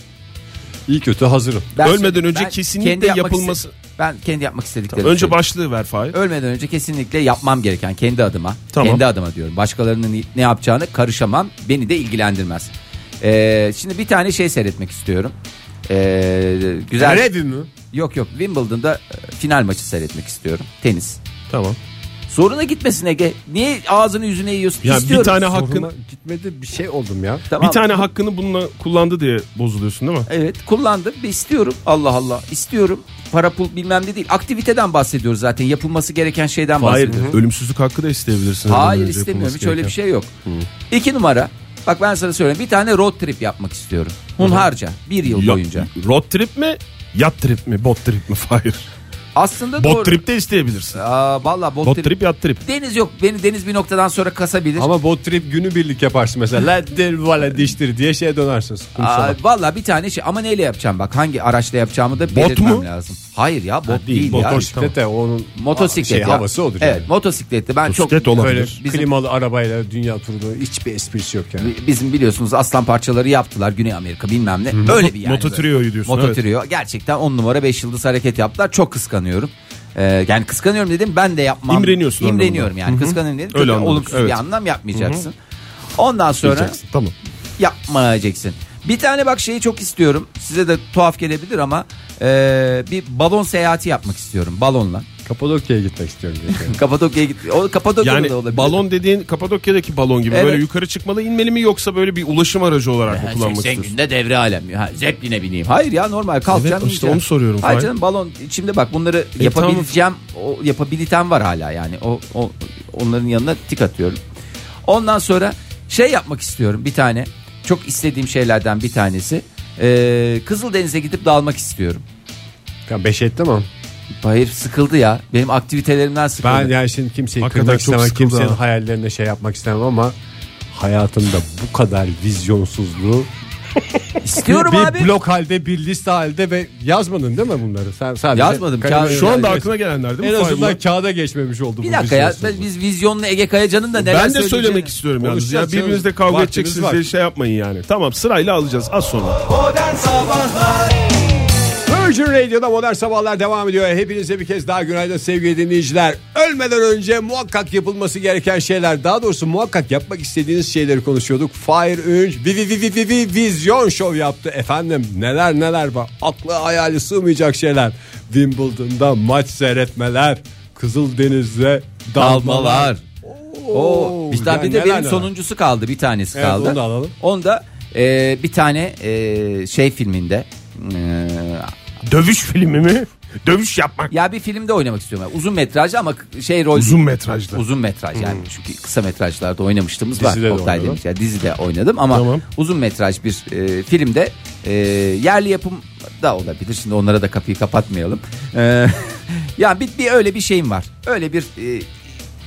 Speaker 3: iyi kötü hazırım.
Speaker 4: Ölmeden önce
Speaker 5: ben
Speaker 4: kesinlikle
Speaker 5: kendi yapmak
Speaker 4: yapılması-
Speaker 5: iste- ben kendi yapmak istediklerimi
Speaker 4: Önce
Speaker 5: söyleyeyim.
Speaker 4: başlığı ver Fahir.
Speaker 5: Ölmeden önce kesinlikle yapmam gereken kendi adıma.
Speaker 4: Tamam.
Speaker 5: Kendi adıma diyorum. Başkalarının ne yapacağını karışamam. Beni de ilgilendirmez. E, şimdi bir tane şey seyretmek istiyorum. E, güzel.
Speaker 3: Ready mi?
Speaker 5: Yok yok Wimbledon'da e, final maçı seyretmek istiyorum. Tenis.
Speaker 4: Tamam.
Speaker 5: Zoruna gitmesin Ege. Niye ağzını yüzüne yiyorsun?
Speaker 4: Ya
Speaker 5: İstiyorum.
Speaker 4: bir tane
Speaker 3: Hakkın
Speaker 4: hakkın
Speaker 3: gitmedi bir şey oldum ya.
Speaker 5: Tamam.
Speaker 4: bir tane hakkını bununla kullandı diye bozuluyorsun değil mi?
Speaker 5: Evet kullandım ve istiyorum. Allah Allah istiyorum. Para pul bilmem ne değil. Aktiviteden bahsediyoruz zaten. Yapılması gereken şeyden
Speaker 4: Hayır,
Speaker 5: bahsediyoruz.
Speaker 4: ölümsüzlük hakkı da isteyebilirsin.
Speaker 5: Hayır istemiyorum. Hiç öyle bir şey yok. İki numara. Bak ben sana söyleyeyim. Bir tane road trip yapmak istiyorum. Hunharca. Bir yıl boyunca.
Speaker 4: Road trip mi? Yat trip mi? Bot trip mi? Hayır.
Speaker 5: Aslında doğru.
Speaker 4: Bot trip de isteyebilirsin.
Speaker 5: Aa, vallahi bot,
Speaker 4: Bot
Speaker 5: trip.
Speaker 4: trip, yat trip.
Speaker 5: Deniz yok. Beni deniz bir noktadan sonra kasabilir.
Speaker 3: Ama bot trip günü birlik yaparsın mesela. Leddir vale diştir diye şeye dönersiniz.
Speaker 5: Aa, vallahi bir tane şey ama neyle yapacağım bak hangi araçla yapacağımı da belirtmem
Speaker 4: mu?
Speaker 5: lazım. Hayır ya bot değil,
Speaker 3: değil,
Speaker 5: ya.
Speaker 3: motosiklete onun
Speaker 5: Motosiklet
Speaker 3: şey,
Speaker 5: ya.
Speaker 3: havası odur
Speaker 5: Evet
Speaker 3: yani.
Speaker 5: motosikletle ben
Speaker 4: Motosiklet
Speaker 5: çok
Speaker 4: olabilir.
Speaker 3: Böyle
Speaker 5: Bizim-
Speaker 3: klimalı arabayla dünya turunu hiçbir esprisi yok yani.
Speaker 5: bizim biliyorsunuz aslan parçaları yaptılar Güney Amerika bilmem ne. Öyle bir yani.
Speaker 4: Moto
Speaker 5: böyle.
Speaker 4: Trio'yu diyorsun,
Speaker 5: Moto
Speaker 4: evet.
Speaker 5: Trio. Gerçekten 10 numara 5 yıldız hareket yaptılar. Çok kıskanıyorum. Ee, yani kıskanıyorum dedim ben de yapmam.
Speaker 4: İmreniyorsun
Speaker 5: İmreniyorum yani. Kıskanıyorum dedim.
Speaker 4: Öyle
Speaker 5: Tabii
Speaker 4: anladık,
Speaker 5: olumsuz bir
Speaker 4: evet.
Speaker 5: anlam yapmayacaksın. Ondan sonra
Speaker 4: Tamam.
Speaker 5: yapmayacaksın. Bir tane bak şeyi çok istiyorum. Size de tuhaf gelebilir ama e, bir balon seyahati yapmak istiyorum balonla.
Speaker 3: Kapadokya'ya gitmek istiyorum. diye.
Speaker 5: Kapadokya'ya git. O Kapadokya da
Speaker 4: Yani
Speaker 5: olabilir.
Speaker 4: balon dediğin Kapadokya'daki balon gibi
Speaker 5: Evet. Ee,
Speaker 4: böyle yukarı çıkmalı inmeli mi yoksa böyle bir ulaşım aracı olarak mı
Speaker 5: Ha,
Speaker 4: kullanmak
Speaker 5: 80
Speaker 4: istiyorsun?
Speaker 5: günde devre alem. Ha, zepline bineyim. Hayır ya normal kalkacaksın.
Speaker 4: Evet, işte
Speaker 5: bineceksin.
Speaker 4: onu soruyorum E,
Speaker 5: Hayır
Speaker 4: Fahir.
Speaker 5: canım balon içinde bak bunları yapabileceğim o yapabiliten var hala yani. O, o onların yanına tik atıyorum. Ondan sonra şey yapmak istiyorum bir tane. Çok istediğim şeylerden bir tanesi. Ee, Kızıldeniz'e gidip dalmak istiyorum.
Speaker 3: ya beş etti mi?
Speaker 5: Hayır sıkıldı ya. Benim aktivitelerimden sıkıldı.
Speaker 3: Ben yani şimdi kimseyi
Speaker 4: Hakikaten çok
Speaker 3: kırmak istemem.
Speaker 4: sıkıldı
Speaker 3: Kimsenin
Speaker 4: ha.
Speaker 3: hayallerine şey yapmak istemem ama hayatımda bu kadar vizyonsuzluğu
Speaker 5: İstiyorum
Speaker 3: bir
Speaker 5: abi.
Speaker 3: blok halde bir liste halde ve yazmadın değil mi bunları? Sen sadece
Speaker 5: Yazmadım. Kağıt-
Speaker 4: Şu anda
Speaker 3: Yani-
Speaker 4: aklına gelenler değil
Speaker 3: En
Speaker 4: mi? Fahir?
Speaker 3: azından kağıda geçmemiş oldu
Speaker 5: Bir
Speaker 3: bu
Speaker 5: dakika ya.
Speaker 3: vizyonsuzluk.
Speaker 5: Biz vizyonlu Ege Kayacan'ın da neler
Speaker 4: ben de
Speaker 5: söyleyeceğini- şey
Speaker 4: söylemek istiyorum yalnız. Ya
Speaker 3: Konuşacağız canım.
Speaker 4: birbirinizle kavga
Speaker 3: Vaktimiz
Speaker 4: edeceksiniz
Speaker 3: var.
Speaker 4: diye şey yapmayın yani. Tamam sırayla alacağız az sonra.
Speaker 2: Modern Sabahlar
Speaker 3: Virgin Radio'da modern sabahlar devam ediyor. Hepinize bir kez daha günaydın sevgili dinleyiciler. Ölmeden önce muhakkak yapılması gereken şeyler daha doğrusu muhakkak yapmak istediğiniz şeyleri konuşuyorduk. Fire 3 vi, vi, vi, vi, vi, vi- vizyon şov yaptı efendim. Neler neler var. Aklı hayali sığmayacak şeyler. Wimbledon'da maç seyretmeler. Kızıldeniz'de dalmalar.
Speaker 5: dalmalar.
Speaker 3: Oo,
Speaker 5: Oo, biz daha
Speaker 3: yani
Speaker 5: bir de
Speaker 3: neler
Speaker 5: benim
Speaker 3: neler.
Speaker 5: sonuncusu kaldı bir tanesi
Speaker 3: Evet,
Speaker 5: kaldı.
Speaker 3: onu da alalım.
Speaker 5: Onu da, e, bir tane e, şey filminde e,
Speaker 4: Dövüş filmi mi? Dövüş yapmak.
Speaker 5: Ya bir filmde oynamak istiyorum. Yani uzun metrajlı ama şey rol
Speaker 4: Uzun metrajlı.
Speaker 5: Uzun metraj
Speaker 4: Hmm.
Speaker 5: yani çünkü kasa metrajlarda oynamıştığımız
Speaker 3: Dizide de
Speaker 5: var. Oktay
Speaker 3: oynadım.
Speaker 5: demiş ya dizide oynadım ama
Speaker 4: Tamam.
Speaker 5: uzun metraj bir e, filmde e, yerli yapım da olabilir. Şimdi onlara da kapıyı kapatmayalım. E, ya bir, bir öyle bir şeyim var. Öyle bir e,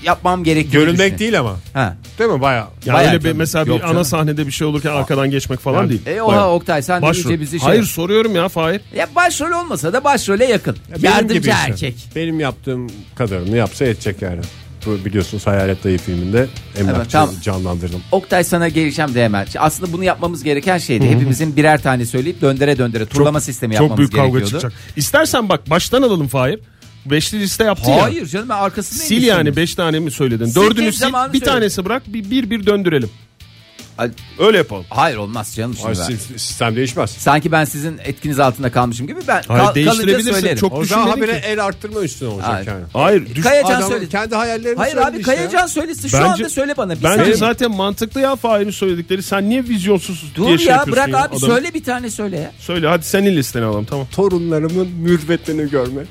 Speaker 5: yapmam gerekiyor.
Speaker 3: Görünmek değil ama.
Speaker 5: Ha.
Speaker 3: Değil mi baya?
Speaker 4: Ya
Speaker 5: Bayağı
Speaker 4: öyle bir,
Speaker 5: canım.
Speaker 4: mesela
Speaker 5: Yok
Speaker 4: bir ana
Speaker 5: canım.
Speaker 4: sahnede bir şey olurken arkadan geçmek falan değil.
Speaker 5: E
Speaker 4: Bayağı.
Speaker 5: oha Oktay sen de
Speaker 4: Başrol.
Speaker 5: iyice bizi şey.
Speaker 4: Hayır soruyorum ya Fahir.
Speaker 5: Ya başrol olmasa da başrole yakın.
Speaker 3: Benim
Speaker 5: Yardımcı
Speaker 3: gibi
Speaker 4: şey.
Speaker 3: işte.
Speaker 5: erkek.
Speaker 3: Benim yaptığım kadarını yapsa edecek yani. Bu biliyorsunuz Hayalet Dayı filminde Emrah
Speaker 5: Evet, tamam.
Speaker 3: canlandırdım.
Speaker 5: Oktay sana geleceğim de hemen. Aslında bunu yapmamız gereken şeydi. Hepimizin birer tane söyleyip döndere döndere turlama sistemi yapmamız
Speaker 4: Çok büyük kavga
Speaker 5: gerekiyordu.
Speaker 4: çıkacak. İstersen bak baştan alalım Fahir. Beşli liste yaptın ya.
Speaker 5: Hayır canım ben arkasındayım.
Speaker 4: Sil yani beş tane mi söyledin? Dördünü sil
Speaker 5: zamanı
Speaker 4: bir
Speaker 5: söyle.
Speaker 4: tanesi bırak bir, bir bir döndürelim.
Speaker 5: Ay-
Speaker 4: Öyle yapalım.
Speaker 5: Hayır olmaz canım şimdi ben.
Speaker 3: Sistem, sistem değişmez.
Speaker 5: Sanki ben sizin etkiniz altında kalmışım gibi ben
Speaker 4: Hayır,
Speaker 5: kal- kalınca
Speaker 4: değiştirebilirsin.
Speaker 5: söylerim.
Speaker 4: Çok
Speaker 3: O zaman
Speaker 4: düşünmedim
Speaker 3: habire
Speaker 4: ki.
Speaker 3: el arttırma üstüne olacak
Speaker 5: Hayır.
Speaker 3: yani.
Speaker 4: Hayır. Düş...
Speaker 5: Kayacan
Speaker 3: Adam
Speaker 5: söyledi.
Speaker 3: kendi hayallerini
Speaker 5: Hayır
Speaker 3: söyledi
Speaker 5: abi
Speaker 3: işte ya.
Speaker 5: Kayacan söylesin E, şu
Speaker 4: Bence-
Speaker 5: anda söyle bana. Bir
Speaker 4: Bence
Speaker 5: saniye.
Speaker 4: zaten mantıklı ya Fahir'in söyledikleri. Sen niye vizyonsuz
Speaker 5: Dur
Speaker 4: diye şey
Speaker 5: ya
Speaker 4: yapıyorsun
Speaker 5: bırak abi
Speaker 4: ya adamı?
Speaker 5: söyle bir tane söyle ya.
Speaker 4: Söyle hadi senin listeni alalım tamam.
Speaker 3: Torunlarımın mürvetini görmek.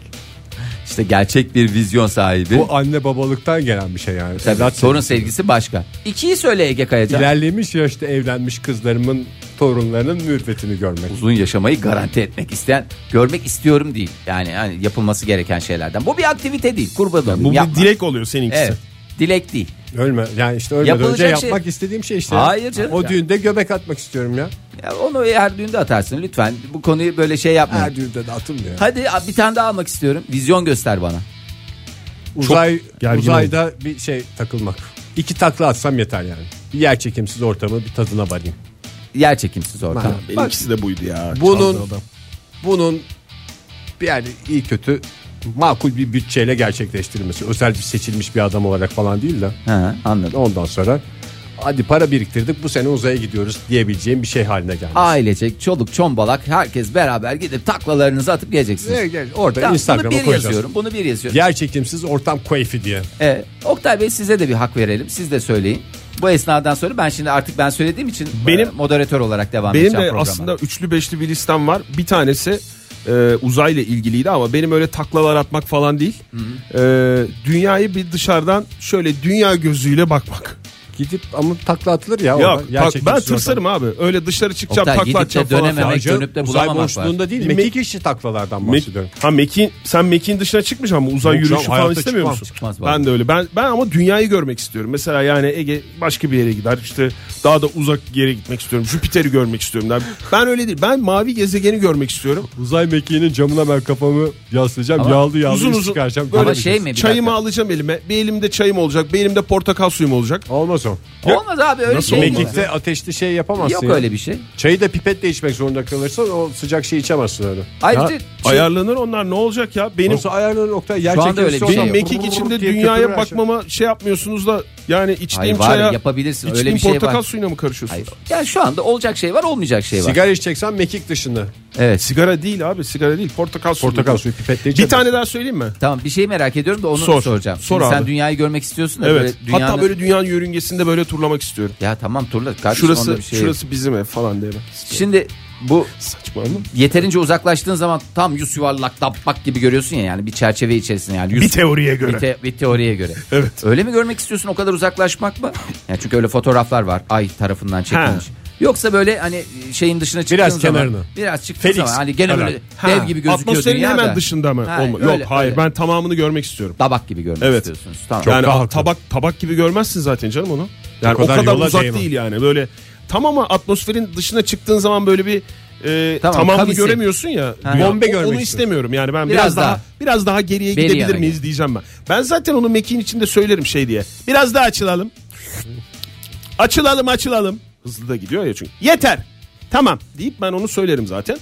Speaker 5: İşte gerçek bir vizyon sahibi.
Speaker 3: Bu anne babalıktan gelen bir şey yani.
Speaker 5: Tabii,
Speaker 3: Sedat
Speaker 5: sorun
Speaker 3: sevgisi.
Speaker 5: sevgisi başka. İkiyi söyle Ege Kayacan.
Speaker 3: İlerlemiş yaşta evlenmiş kızlarımın torunlarının mürvetini görmek.
Speaker 5: uzun yaşamayı garanti etmek isteyen görmek istiyorum değil. Yani, yani yapılması gereken şeylerden. Bu bir aktivite değil. Kurban olayım.
Speaker 4: Bu
Speaker 5: yapma.
Speaker 4: bir dilek oluyor seninkisi.
Speaker 5: Evet. Dilek değil.
Speaker 3: Ölme yani işte ölmeden
Speaker 5: Yapılacak
Speaker 3: önce
Speaker 5: şey-
Speaker 3: yapmak istediğim şey işte.
Speaker 5: Hayır canım.
Speaker 3: O
Speaker 5: Ya.
Speaker 3: düğünde göbek atmak istiyorum ya.
Speaker 5: Ya onu her düğünde atarsın lütfen. Bu konuyu böyle şey yapma.
Speaker 3: Her düğünde de atılmıyor.
Speaker 5: Hadi a- bir tane daha almak istiyorum. Vizyon göster bana.
Speaker 3: Uzay
Speaker 4: gergin
Speaker 3: uzayda bir şey takılmak. İki takla atsam yeter yani. Bir yer çekimsiz ortamı bir tadına varayım.
Speaker 5: Yer çekimsiz ortam.
Speaker 3: Ha.
Speaker 4: Benimkisi de buydu ya.
Speaker 3: Bunun-
Speaker 4: çaldı adam.
Speaker 3: Bunun bir yani iyi kötü makul bir bütçeyle gerçekleştirilmesi. Özel bir seçilmiş bir adam olarak falan değil de.
Speaker 5: Ha, anladım.
Speaker 3: Ondan sonra hadi para biriktirdik bu sene uzaya gidiyoruz diyebileceğim bir şey haline gelmesi.
Speaker 5: Ailecek, çoluk, çombalak herkes beraber gidip taklalarınızı atıp geleceksiniz.
Speaker 3: Evet, evet. Orada
Speaker 5: Tamam,
Speaker 3: Instagram'a
Speaker 5: bunu bir
Speaker 3: koyacağız.
Speaker 5: yazıyorum. Bunu bir yazıyorum.
Speaker 3: Yer çekimsiz ortam keyfi diye.
Speaker 5: Ee, Oktay Bey size de bir hak verelim. Siz de söyleyin. Bu esnadan sonra ben şimdi artık ben söylediğim için
Speaker 4: Benim-
Speaker 5: e, moderatör olarak devam
Speaker 4: Benim de
Speaker 5: edeceğim programa.
Speaker 4: aslında üçlü beşli bir listem var. Bir tanesi e, uzayla ilgiliydi ama benim öyle taklalar atmak falan değil. E, dünyayı bir dışarıdan şöyle dünya gözüyle bakmak.
Speaker 3: Gidip ama takla atılır ya.
Speaker 4: Yok
Speaker 3: orada. Yer
Speaker 4: tak- ben
Speaker 3: çekimsiz
Speaker 4: tırsarım abi. Öyle dışarı çıkacağım
Speaker 5: Oktay,
Speaker 4: takla
Speaker 5: gidip de
Speaker 4: atacağım falan.
Speaker 5: dönememek-
Speaker 4: filan.
Speaker 3: ortam.
Speaker 5: dönüp de
Speaker 3: uzay
Speaker 5: bulamamak var.
Speaker 3: boşluğunda değil meki kişi taklalardan bahsediyorum.
Speaker 4: Mek- ha Mekin sen Mekin dışına çıkmış ama uzay
Speaker 3: Yok canım,
Speaker 4: yürüyüşü falan
Speaker 3: hayatta
Speaker 4: istemiyor
Speaker 3: çıkmam,
Speaker 4: musun?
Speaker 5: çıkmaz vallahi.
Speaker 4: ben de öyle. Ben ben ama dünyayı görmek istiyorum. Mesela yani Ege başka bir yere gider. İşte daha da uzak yere gitmek istiyorum. Jüpiter'i görmek istiyorum der. Ben öyle değil. Ben mavi gezegeni görmek istiyorum.
Speaker 3: Uzay mekiğinin camına ben kafamı yaslayacağım.
Speaker 5: Ama
Speaker 3: yağlı yağlı
Speaker 4: uzun
Speaker 3: iş
Speaker 4: uzun
Speaker 3: çıkaracağım.
Speaker 5: Ama
Speaker 3: Böyle
Speaker 5: şey mi? Bir
Speaker 4: Çayımı
Speaker 5: dakika.
Speaker 4: alacağım elime. Bir elimde çayım olacak. Bir elimde portakal suyum olacak.
Speaker 3: Olmaz o.
Speaker 5: Olmaz abi öyle
Speaker 4: Nasıl
Speaker 5: şey
Speaker 4: olmaz?
Speaker 5: mi olur?
Speaker 3: Mekikte ateşli şey yapamazsın.
Speaker 5: Yok
Speaker 3: ya.
Speaker 5: öyle bir şey.
Speaker 3: Çayı da pipetle içmek zorunda kalırsan o sıcak şeyi içemezsin öyle.
Speaker 5: Ayrıca
Speaker 4: Ha,
Speaker 5: şey-
Speaker 4: ayarlanır onlar ne olacak ya? Benim
Speaker 3: Nasıl ayarlanır Oktay? Yer
Speaker 5: Şu anda
Speaker 3: çekimsiz
Speaker 5: öyle bir
Speaker 3: olsa
Speaker 5: şey
Speaker 4: benim
Speaker 5: yok.
Speaker 3: vur vur
Speaker 4: mekik
Speaker 3: vur
Speaker 4: içinde
Speaker 3: diye
Speaker 4: dünyaya
Speaker 3: köpürür her şey.
Speaker 4: bakmama şey yapmıyorsunuz da yani içtiğim
Speaker 5: Hayır, var,
Speaker 4: çaya
Speaker 5: yapabilirsin. Öyle
Speaker 4: içtiğim
Speaker 5: bir şey var.
Speaker 4: portakal suyuna mı karışıyorsunuz?
Speaker 5: Hayır. şey- Yani şu anda olacak şey var olmayacak şey var.
Speaker 3: Sigara içeceksen mekik dışında.
Speaker 5: Evet.
Speaker 4: Sigara değil abi sigara değil portakal suyu.
Speaker 3: Portakal suyu pipetle
Speaker 4: Bir
Speaker 3: içemezsin.
Speaker 4: tane daha söyleyeyim mi?
Speaker 5: Tamam bir şey merak ediyorum da onu
Speaker 4: Sor.
Speaker 5: soracağım. Şimdi
Speaker 4: Sor
Speaker 5: sen
Speaker 4: abi.
Speaker 5: dünyayı görmek istiyorsun da
Speaker 4: Evet.
Speaker 5: böyle dünyanın...
Speaker 4: Hatta böyle dünyanın yörüngesinde böyle turlamak istiyorum.
Speaker 5: Ya tamam turla kardeşim onda
Speaker 4: Şurası
Speaker 5: bir şey yok.
Speaker 4: şurası bizim ev falan diye ben.
Speaker 5: Şimdi bu
Speaker 4: Saçma mı?
Speaker 5: yeterince uzaklaştığın zaman tam yüz yuvarlak tabak gibi görüyorsun ya yani bir çerçeve içerisinde yani. Yüz,
Speaker 4: Bir teoriye
Speaker 5: bir
Speaker 4: göre.
Speaker 5: te- bir teoriye göre.
Speaker 4: Evet.
Speaker 5: Öyle mi görmek istiyorsun o kadar uzaklaşmak mı? Yani çünkü öyle fotoğraflar var ay tarafından çekilmiş.
Speaker 4: Ha.
Speaker 5: Yoksa böyle hani şeyin dışına çıktığın
Speaker 3: Biraz
Speaker 5: zaman.
Speaker 3: kenarını.
Speaker 5: Biraz çıktığın
Speaker 3: Felix
Speaker 5: zaman hani gene böyle dev gibi gözüküyor
Speaker 4: Atmosferin
Speaker 5: dünya
Speaker 4: hemen
Speaker 5: da.
Speaker 4: dışında mı?
Speaker 5: Ha,
Speaker 4: Olma-
Speaker 5: öyle,
Speaker 4: Yok hayır
Speaker 5: öyle.
Speaker 4: ben tamamını görmek istiyorum.
Speaker 5: Tabak gibi görmek
Speaker 4: Evet.
Speaker 5: istiyorsunuz. Tamam.
Speaker 4: yani
Speaker 3: daha haklı.
Speaker 4: tabak tabak gibi görmezsin zaten canım onu. Yani o kadar,
Speaker 3: kadar yola
Speaker 4: uzak
Speaker 3: değmem.
Speaker 4: değil yani. Böyle tam ama atmosferin dışına çıktığın zaman böyle bir e,
Speaker 5: Tamam,
Speaker 4: tamamını
Speaker 5: kavisi.
Speaker 4: göremiyorsun ya.
Speaker 5: Ha.
Speaker 4: Ya,
Speaker 3: Bombe
Speaker 4: o-
Speaker 3: görmek
Speaker 4: Onu
Speaker 3: istiyorum.
Speaker 4: istemiyorum yani ben biraz,
Speaker 5: Biraz
Speaker 4: daha,
Speaker 5: daha.
Speaker 4: biraz daha geriye
Speaker 5: Beri
Speaker 4: gidebilir
Speaker 5: yana
Speaker 4: miyiz
Speaker 5: gel.
Speaker 4: diyeceğim ben. Ben zaten onu mekiğin içinde söylerim şey diye. Biraz daha açılalım. açılalım açılalım. Hızlı da gidiyor ya çünkü. Yeter. Tamam deyip ben onu söylerim zaten.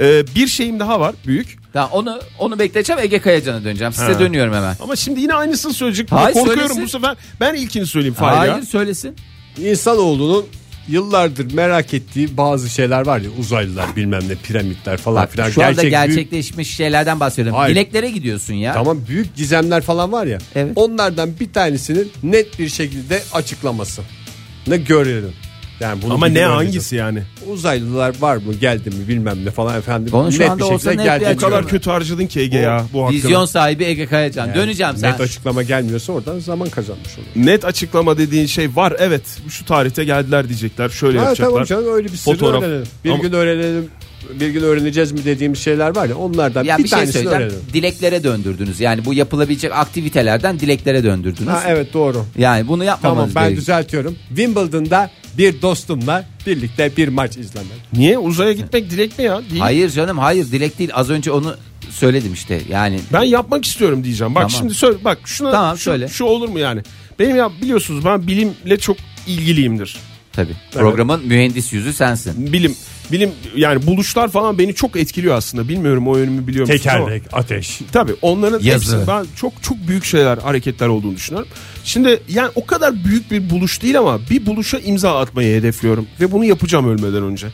Speaker 4: E, bir şeyim daha var büyük.
Speaker 5: Tamam, onu onu bekleteceğim Ege Kayacan'a döneceğim. Size
Speaker 4: Ha.
Speaker 5: dönüyorum hemen.
Speaker 4: Ama şimdi yine aynısını söyleyecek.
Speaker 5: Hayır,
Speaker 4: Korkuyorum
Speaker 5: söylesin.
Speaker 4: bu sefer. Ben ilkini söyleyeyim Fahir
Speaker 5: Hayır
Speaker 4: ya.
Speaker 5: söylesin.
Speaker 3: İnsanoğlunun yıllardır merak ettiği bazı şeyler var ya uzaylılar bilmem ne piramitler falan
Speaker 5: Bak,
Speaker 3: filan.
Speaker 5: şu anda
Speaker 3: Gerçek büyük-
Speaker 5: gerçekleşmiş şeylerden bahsediyorum.
Speaker 3: Hayır.
Speaker 5: Dileklere gidiyorsun ya.
Speaker 3: Tamam büyük gizemler falan var ya.
Speaker 5: Evet.
Speaker 3: Onlardan bir tanesinin net bir şekilde açıklaması. Ne görelim. Yani bunu
Speaker 4: Ama ne
Speaker 3: biliyorum.
Speaker 4: hangisi yani?
Speaker 3: Uzaylılar var mı geldi mi bilmem ne falan efendim.
Speaker 5: Onun şu
Speaker 3: net
Speaker 5: anda
Speaker 3: bir
Speaker 5: olsa
Speaker 3: şekilde
Speaker 5: net bir
Speaker 3: geldi.
Speaker 4: O kadar
Speaker 5: Bilmiyorum.
Speaker 4: kötü harcadın ki Ege ya bu hakkını.
Speaker 5: Vizyon sahibi Ege Kayacan. Döneceğim sen.
Speaker 3: Net açıklama gelmiyorsa oradan zaman kazanmış olur.
Speaker 4: Net açıklama dediğin şey var evet şu tarihte geldiler diyecekler şöyle
Speaker 3: Ha,
Speaker 4: yapacaklar.
Speaker 3: tamam canım öyle bir sırrı
Speaker 4: Fotoğraf.
Speaker 3: öğrenelim. Bir
Speaker 4: Ama-
Speaker 3: gün öğrenelim. Bir gün öğreneceğiz mi dediğimiz şeyler var ya onlardan
Speaker 5: Ya
Speaker 3: bir,
Speaker 5: bir, şey
Speaker 3: tanesini
Speaker 5: söyleyeceğim.
Speaker 3: öğrenelim.
Speaker 5: Dileklere döndürdünüz. Yani bu yapılabilecek aktivitelerden dileklere döndürdünüz.
Speaker 3: Ha, evet doğru.
Speaker 5: Yani bunu
Speaker 3: Tamam
Speaker 5: yapmamanız
Speaker 3: ben
Speaker 5: gerekiyor.
Speaker 3: düzeltiyorum. Wimbledon'da bir dostumla birlikte bir maç izlemek.
Speaker 4: Niye uzaya gitmek dilek mi ya? Değil.
Speaker 5: Hayır canım hayır dilek değil. Az önce onu söyledim işte. Yani
Speaker 4: Ben yapmak istiyorum diyeceğim. Bak
Speaker 5: Tamam.
Speaker 4: şimdi söyle bak şuna
Speaker 5: Tamam,
Speaker 4: şu,
Speaker 5: söyle.
Speaker 4: şu olur mu yani? Benim ya biliyorsunuz ben bilimle çok ilgiliyimdir.
Speaker 5: tabii programın mühendis yüzü sensin.
Speaker 4: Bilim bilim yani buluşlar falan beni çok etkiliyor aslında. Bilmiyorum o yönümü biliyor musunuz ama-
Speaker 3: ateş.
Speaker 4: Tabii onların
Speaker 5: Yazı.
Speaker 4: hepsi ben çok çok büyük şeyler hareketler olduğunu düşünüyorum. Şimdi yani o kadar büyük bir buluş değil ama bir buluşa imza atmayı hedefliyorum ve bunu yapacağım ölmeden önce.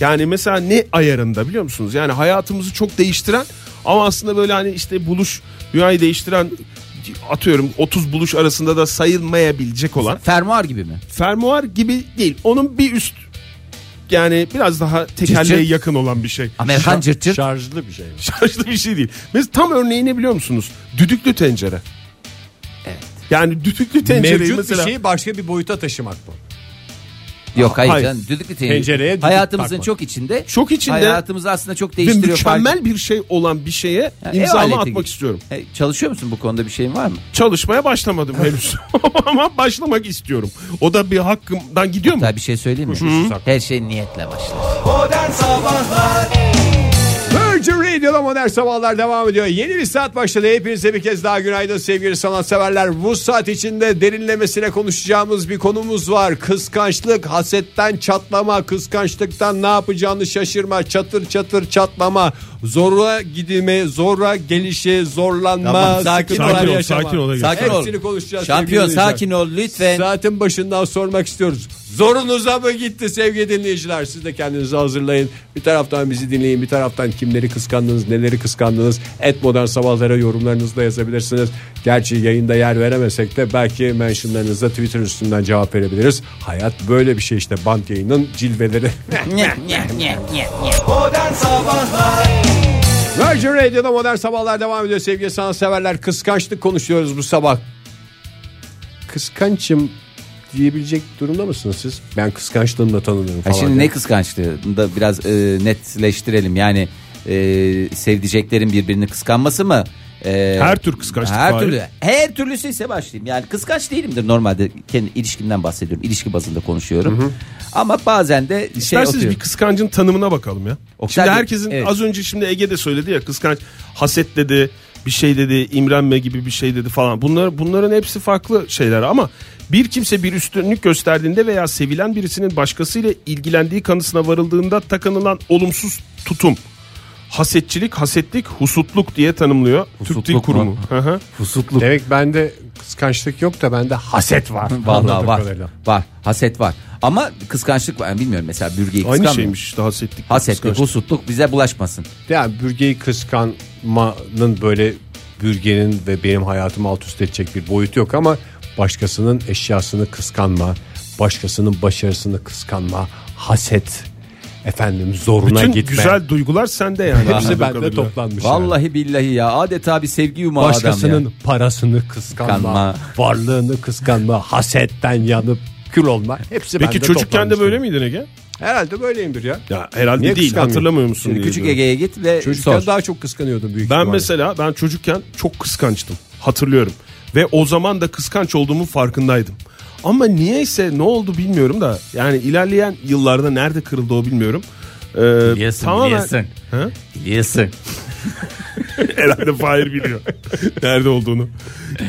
Speaker 4: Yani mesela ne ayarında biliyor musunuz? Yani hayatımızı çok değiştiren ama aslında böyle hani işte buluş dünyayı değiştiren atıyorum 30 buluş arasında da sayılmayabilecek olan
Speaker 5: Fermuar gibi mi?
Speaker 4: fermuar gibi değil. Onun bir üst yani biraz daha tekerleğe
Speaker 5: Çiçek.
Speaker 4: yakın olan bir şey
Speaker 5: Amerikan cırt cırt.
Speaker 3: Şarjlı bir şey. mi?
Speaker 4: şarjlı bir şey değil. Mesela tam örneğini biliyor musunuz? Düdüklü tencere. Evet. Yani düdüklü tencereyi
Speaker 3: Mevcut
Speaker 4: mesela
Speaker 3: bir şey
Speaker 5: şey.
Speaker 3: şeyi başka bir boyuta taşımak bu.
Speaker 5: Yok hayır,
Speaker 4: Hayır.
Speaker 5: canım düdüklü tencere.
Speaker 3: Tencereye düdük
Speaker 5: Hayatımızın
Speaker 3: takmak.
Speaker 5: çok içinde.
Speaker 4: çok içinde
Speaker 5: Hayatımızı aslında çok
Speaker 4: ve
Speaker 5: değiştiriyor. fark-
Speaker 4: mükemmel bir şey olan bir şeye
Speaker 5: Ya, ev
Speaker 4: imzamı
Speaker 5: aleti
Speaker 4: atmak
Speaker 5: gibi.
Speaker 4: istiyorum.
Speaker 5: E, çalışıyor musun bu konuda bir şeyin var mı?
Speaker 4: Çalışmaya başlamadım henüz. Ama başlamak istiyorum. O da bir hakkımdan gidiyor mu?
Speaker 5: Daha bir şey söyleyeyim mi? Her şey niyetle başlar.
Speaker 2: Modern Sabahlar
Speaker 3: Virgin Radio'da modern sabahlar devam ediyor. Yeni bir saat başladı. Hepinize bir kez daha günaydın sevgili sanatseverler. Bu saat içinde derinlemesine konuşacağımız bir konumuz var. Kıskançlık, hasetten çatlama, kıskançlıktan ne yapacağını şaşırma, çatır çatır çatlama, zorla gidimi, zorla gelişi, zorlanma,
Speaker 5: Tamam, sakin
Speaker 3: sıkıntılar
Speaker 5: ol, sakin ol,
Speaker 3: yaşama.
Speaker 4: sakin ol, Ege.
Speaker 5: Sakin ol.
Speaker 3: Hepsini konuşacağız. sevgili
Speaker 5: Şampiyon
Speaker 3: dinleyiciler.
Speaker 5: sakin ol lütfen.
Speaker 3: Saatin başından sormak istiyoruz. Zorunuza mı gitti sevgili dinleyiciler? Siz de kendinizi hazırlayın. Bir taraftan bizi dinleyin. Bir taraftan kimleri kıskandınız, neleri kıskandınız. Et modern sabahlara yorumlarınızı da yazabilirsiniz. Gerçi yayında yer veremesek de belki mentionlarınızda Twitter üstünden cevap verebiliriz. Hayat böyle bir şey işte. Bant yayının cilveleri.
Speaker 2: Modern Sabahlar
Speaker 3: Virgin Radio'da modern sabahlar devam ediyor sevgili sanatseverler. Kıskançlık konuşuyoruz bu sabah. Kıskançım diyebilecek durumda mısınız siz? Ben kıskançlığımla tanınırım
Speaker 5: Ha
Speaker 3: falan.
Speaker 5: E, şimdi
Speaker 3: diye.
Speaker 5: ne kıskançlığı Bunu da biraz e, netleştirelim. Yani e, sevdiceklerin birbirini kıskanması mı? E,
Speaker 4: Her tür kıskançlık
Speaker 5: Her
Speaker 4: var.
Speaker 5: türlü. Her türlüsü ise başlayayım. Yani kıskanç değilimdir normalde. Kendi ilişkimden bahsediyorum. İlişki bazında konuşuyorum. Ama bazen de şey
Speaker 4: İsterseniz
Speaker 5: atıyorum.
Speaker 4: bir kıskancın tanımına bakalım ya.
Speaker 5: Oktay
Speaker 4: şimdi
Speaker 5: Bey,
Speaker 4: herkesin
Speaker 5: evet.
Speaker 4: az önce şimdi Ege de söyledi ya kıskanç haset dedi bir şey dedi imrenme gibi bir şey dedi falan. Bunlar bunların hepsi farklı şeyler ama bir kimse bir üstünlük gösterdiğinde veya sevilen birisinin başkasıyla ilgilendiği kanısına varıldığında takınılan olumsuz tutum hasetçilik, hasetlik, husutluk diye tanımlıyor Türk Dil
Speaker 5: Husutluk mu?
Speaker 4: Kurumu. Hı hı.
Speaker 5: Husutluk.
Speaker 3: Demek bende kıskançlık yok da bende haset var.
Speaker 5: Vallahi
Speaker 3: Anladığım
Speaker 5: var.
Speaker 3: kadarıyla.
Speaker 5: Var. Haset var. Ama kıskançlık var. Yani bilmiyorum mesela
Speaker 4: Aynı
Speaker 5: bürgeyi kıskanmıyor.
Speaker 4: şeymiş işte hasetlik.
Speaker 5: Hasetlik,
Speaker 4: kıskançlık.
Speaker 5: husutluk bize bulaşmasın.
Speaker 3: Yani bürgeyi kıskanmanın böyle bürgenin ve benim hayatımı alt üst edecek bir boyutu yok ama başkasının eşyasını kıskanma, başkasının başarısını kıskanma, haset, efendim zoruna
Speaker 4: Bütün
Speaker 3: gitme.
Speaker 4: güzel duygular sende yani.
Speaker 3: Hepsi
Speaker 4: Anladığım
Speaker 3: bende
Speaker 4: kadarıyla.
Speaker 3: toplanmış.
Speaker 4: şey
Speaker 3: yani.
Speaker 5: Vallahi billahi ya adeta bir sevgi yumağı adam
Speaker 3: Başkasının
Speaker 5: ya.
Speaker 3: parasını kıskanma,
Speaker 5: Kıskanma.
Speaker 3: varlığını kıskanma, hasetten yanıp kül olma. Hepsi
Speaker 4: Peki
Speaker 3: bende
Speaker 4: çocukken de
Speaker 3: toplanmış.
Speaker 4: böyle miydin Ege?
Speaker 3: Herhalde böyleyimdir ya.
Speaker 4: Ya herhalde
Speaker 3: Niye
Speaker 4: değil
Speaker 3: kıskanmıyor?
Speaker 4: hatırlamıyor musun
Speaker 5: Şimdi
Speaker 4: diye
Speaker 5: küçük
Speaker 4: diyorum.
Speaker 5: Ege'ye git ve
Speaker 3: Çocukken
Speaker 5: sor.
Speaker 3: daha çok kıskanıyordum büyük
Speaker 4: Ben
Speaker 3: ihtimalle.
Speaker 4: mesela ben çocukken çok kıskançtım hatırlıyorum ve o zaman da kıskanç olduğumun farkındaydım. Ama niyeyse ne oldu bilmiyorum da yani ilerleyen yıllarda nerede kırıldı o bilmiyorum. Ee,
Speaker 5: Biliyorsun, biliyorsun.
Speaker 4: Ha?
Speaker 5: Biliyorsun.
Speaker 4: Herhalde Fahir biliyor nerede olduğunu.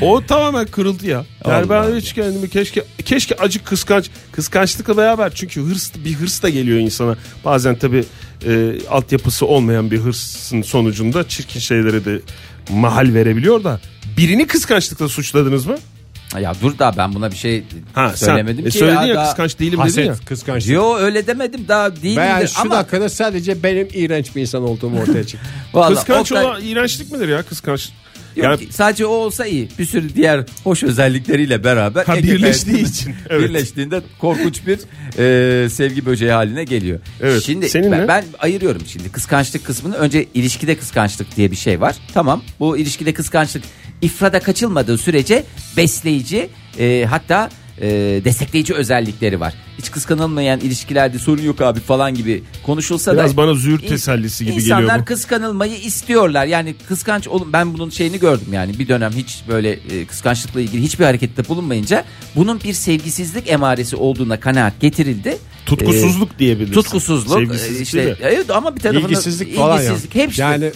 Speaker 4: O tamamen kırıldı ya. Yani ben hiç kendimi keşke keşke acık kıskanç kıskançlıkla beraber çünkü hırs bir hırs da geliyor insana. Bazen tabi e, altyapısı olmayan bir hırsın sonucunda çirkin şeylere de mahal verebiliyor da birini kıskançlıkla suçladınız mı?
Speaker 5: Ya dur daha ben buna bir şey
Speaker 4: Ha
Speaker 5: söylemedim
Speaker 4: sen,
Speaker 5: ki.
Speaker 4: e, söyledin ya,
Speaker 5: daha-
Speaker 4: kıskanç değilim
Speaker 3: Haset,
Speaker 4: dedin ya.
Speaker 3: kıskançlık.
Speaker 5: Yo öyle demedim daha değilimdir
Speaker 3: Ben yani şu
Speaker 5: ama
Speaker 3: dakikada sadece benim iğrenç bir insan olduğum ortaya çıktı.
Speaker 5: Vallahi
Speaker 4: Kıskanç
Speaker 5: Oktay-
Speaker 4: olan iğrençlik midir ya kıskanç?
Speaker 5: Yok
Speaker 4: Yani-
Speaker 5: ki, sadece o olsa iyi. Bir sürü diğer hoş özellikleriyle beraber
Speaker 4: Ha,
Speaker 5: Ege
Speaker 4: birleştiği
Speaker 5: Kayacan'ın
Speaker 4: için, evet.
Speaker 5: birleştiğinde korkunç bir e, sevgi böceği haline geliyor.
Speaker 4: Evet,
Speaker 5: Şimdi
Speaker 4: senin
Speaker 5: ben,
Speaker 4: ne?
Speaker 5: ben ayırıyorum şimdi kıskançlık kısmını. Önce ilişkide kıskançlık diye bir şey var. Tamam. Bu ilişkide kıskançlık ifrada kaçılmadığı sürece besleyici e, hatta e, destekleyici özellikleri var. Hiç kıskanılmayan ilişkilerde sorun yok abi falan gibi konuşulsa da
Speaker 4: Biraz bana züğürt
Speaker 5: İn-
Speaker 4: tesellisi gibi
Speaker 5: insanlar
Speaker 4: geliyor bu.
Speaker 5: kıskanılmayı istiyorlar. Yani kıskanç olun ben bunun şeyini gördüm yani bir dönem hiç böyle e, kıskançlıkla ilgili hiçbir harekette bulunmayınca bunun bir sevgisizlik emaresi olduğuna kanaat getirildi.
Speaker 4: Tutkusuzluk diyebiliriz.
Speaker 5: Ee, tutkusuzluk
Speaker 4: Sevgisizlik
Speaker 5: e, işte
Speaker 4: değil de.
Speaker 5: evet ama bir tarafında
Speaker 3: İlgisizlik falan
Speaker 5: ilgisizlik,
Speaker 3: ya.
Speaker 5: hepsi.
Speaker 3: Yani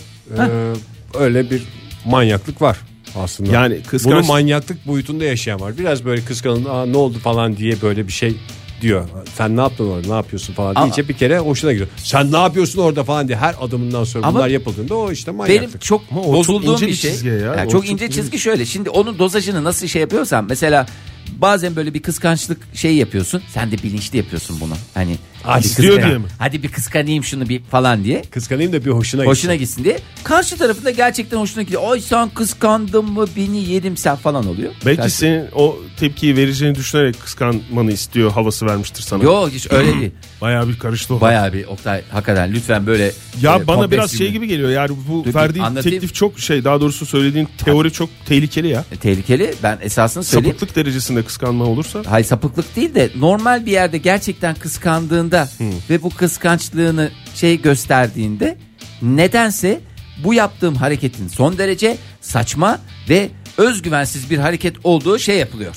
Speaker 3: e, öyle bir manyaklık var aslında.
Speaker 4: Yani kıskanç-
Speaker 3: Bunu manyaklık boyutunda yaşayan var. Biraz böyle kıskanın "Aa, ne oldu falan diye böyle bir şey diyor. Sen ne yaptın orada ne yapıyorsun falan
Speaker 5: Ama-
Speaker 3: deyince bir kere hoşuna gidiyor. Sen ne yapıyorsun orada falan diye her adımından sonra
Speaker 5: Ama-
Speaker 3: bunlar yapıldığında o işte
Speaker 5: benim
Speaker 3: manyaklık.
Speaker 5: çok
Speaker 4: Ama o çok
Speaker 5: bozulduğum
Speaker 4: ince
Speaker 5: bir
Speaker 4: bir
Speaker 5: şey.
Speaker 4: çizgi ya.
Speaker 5: Yani
Speaker 4: O
Speaker 5: çok
Speaker 4: çok
Speaker 5: ince
Speaker 4: ince.
Speaker 5: çizgi şöyle. Şimdi onun dozajını nasıl şey yapıyorsan mesela bazen böyle bir kıskançlık şeyi yapıyorsun. Sen de bilinçli yapıyorsun bunu. Hani hadi
Speaker 4: istiyor
Speaker 5: kıskan-
Speaker 4: diye mi?
Speaker 5: Hadi bir kıskanayım şunu bir falan diye.
Speaker 3: Kıskanayım da bir hoşuna,
Speaker 5: Hoşuna gitsin diye. Karşı tarafında gerçekten hoşuna gidiyor. Ay sen kıskandın mı beni yedim sen falan oluyor.
Speaker 4: Belki
Speaker 5: Karşı-
Speaker 4: senin o tepkiyi vereceğini düşünerek kıskanmanı istiyor havası vermiştir sana.
Speaker 5: Yok hiç öyle değil.
Speaker 4: Bayağı bir karıştı o.
Speaker 5: Bayağı bir Oktay hakikaten lütfen böyle.
Speaker 4: Ya
Speaker 5: e,
Speaker 4: bana
Speaker 5: kompleks
Speaker 4: biraz şey gibi geliyor yani bu
Speaker 5: Dur,
Speaker 4: verdiğin
Speaker 5: anlatayım.
Speaker 4: teklif çok şey daha doğrusu söylediğin teori çok tehlikeli ya.
Speaker 5: E, Tehlikeli ben esasını söyleyeyim.
Speaker 4: Sapıklık derecesinde kıskanma olursa
Speaker 5: Hayır sapıklık değil de normal bir yerde gerçekten kıskandığında ve bu kıskançlığını şey gösterdiğinde nedense bu yaptığım hareketin son derece saçma ve özgüvensiz bir hareket olduğu şey yapılıyor.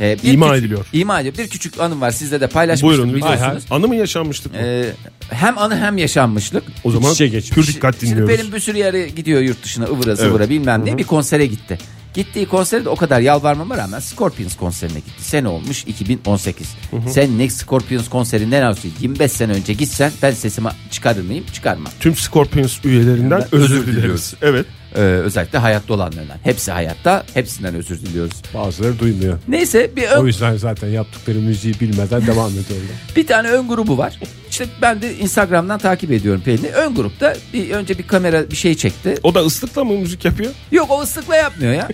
Speaker 5: Ee, bir
Speaker 4: İma
Speaker 5: küç-
Speaker 4: ediliyor.
Speaker 5: İma ediliyor. Bir küçük anım var sizle de paylaşmıştım
Speaker 4: buyurun
Speaker 5: biliyorsunuz.
Speaker 4: biliyorsunuz. Anı mı yaşanmıştık mı?
Speaker 5: Ee, hem anı hem yaşanmışlık.
Speaker 4: o zaman
Speaker 3: İç içe geçmiş.
Speaker 4: pür dikkat
Speaker 5: Şimdi
Speaker 4: dinliyoruz.
Speaker 5: benim bir sürü yere gidiyor yurt dışına ıvıra
Speaker 4: Evet.
Speaker 5: zıvıra bilmem ne bir konsere gitti. Gittiği konsere de o kadar yalvarmama rağmen Scorpions konserine gitti. Sene olmuş 2018. Sen ne Scorpions konserinden alsın 25 sene önce gitsen ben sesimi çıkarır mıyım? Çıkarmam.
Speaker 4: Tüm Scorpions üyelerinden
Speaker 5: Ben
Speaker 4: özür,
Speaker 5: özür
Speaker 4: dileriz. Evet.
Speaker 5: Ee, özellikle hayatta olanlardan. Hepsi hayatta. Hepsinden özür diliyoruz.
Speaker 3: Bazıları duymuyor.
Speaker 5: Neyse bir ön
Speaker 3: O yüzden zaten yaptıkları müziği bilmeden devam ediyorlar.
Speaker 5: Bir tane ön grubu var. İşte ben de Instagram'dan takip ediyorum Pelin'i. Ön grupta bir, önce bir kamera bir şey çekti.
Speaker 4: O da ıslıkla mı müzik yapıyor?
Speaker 5: Yok o ıslıkla yapmıyor ya.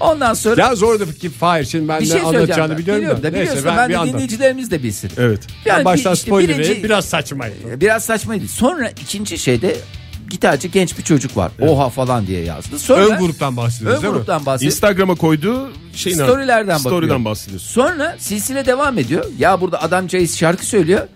Speaker 5: Ondan sonra
Speaker 3: ya zordu ki Fahir şimdi ben
Speaker 5: bir
Speaker 3: ne
Speaker 5: şey söyleyeceğim.
Speaker 3: anlatacağını
Speaker 5: Ben.
Speaker 3: biliyorum,
Speaker 5: Biliyorum da
Speaker 3: da. Neyse
Speaker 5: biliyorsun
Speaker 3: ben,
Speaker 5: ben,
Speaker 3: bir
Speaker 5: de
Speaker 3: anlatayım.
Speaker 5: dinleyicilerimiz de bilsin.
Speaker 4: Evet.
Speaker 5: Yani
Speaker 3: baştan
Speaker 5: bir- işte
Speaker 3: spoiler
Speaker 5: birinci- e,
Speaker 3: vereyim, biraz saçmaydı.
Speaker 5: Biraz saçmaydı. Sonra ikinci şeyde gitarcı genç bir çocuk var. Oha falan diye yazdı. Sonra
Speaker 3: Ön gruptan bahsediyoruz
Speaker 5: ön
Speaker 3: değil mi?
Speaker 5: gruptan bahsediyor.
Speaker 4: Instagram'a koyduğu şeyin
Speaker 5: Storylerden bakıyor.
Speaker 4: Story'den bahsediyorsun.
Speaker 5: Sonra silsile devam ediyor. Ya burada adam Caiz şarkı söylüyor.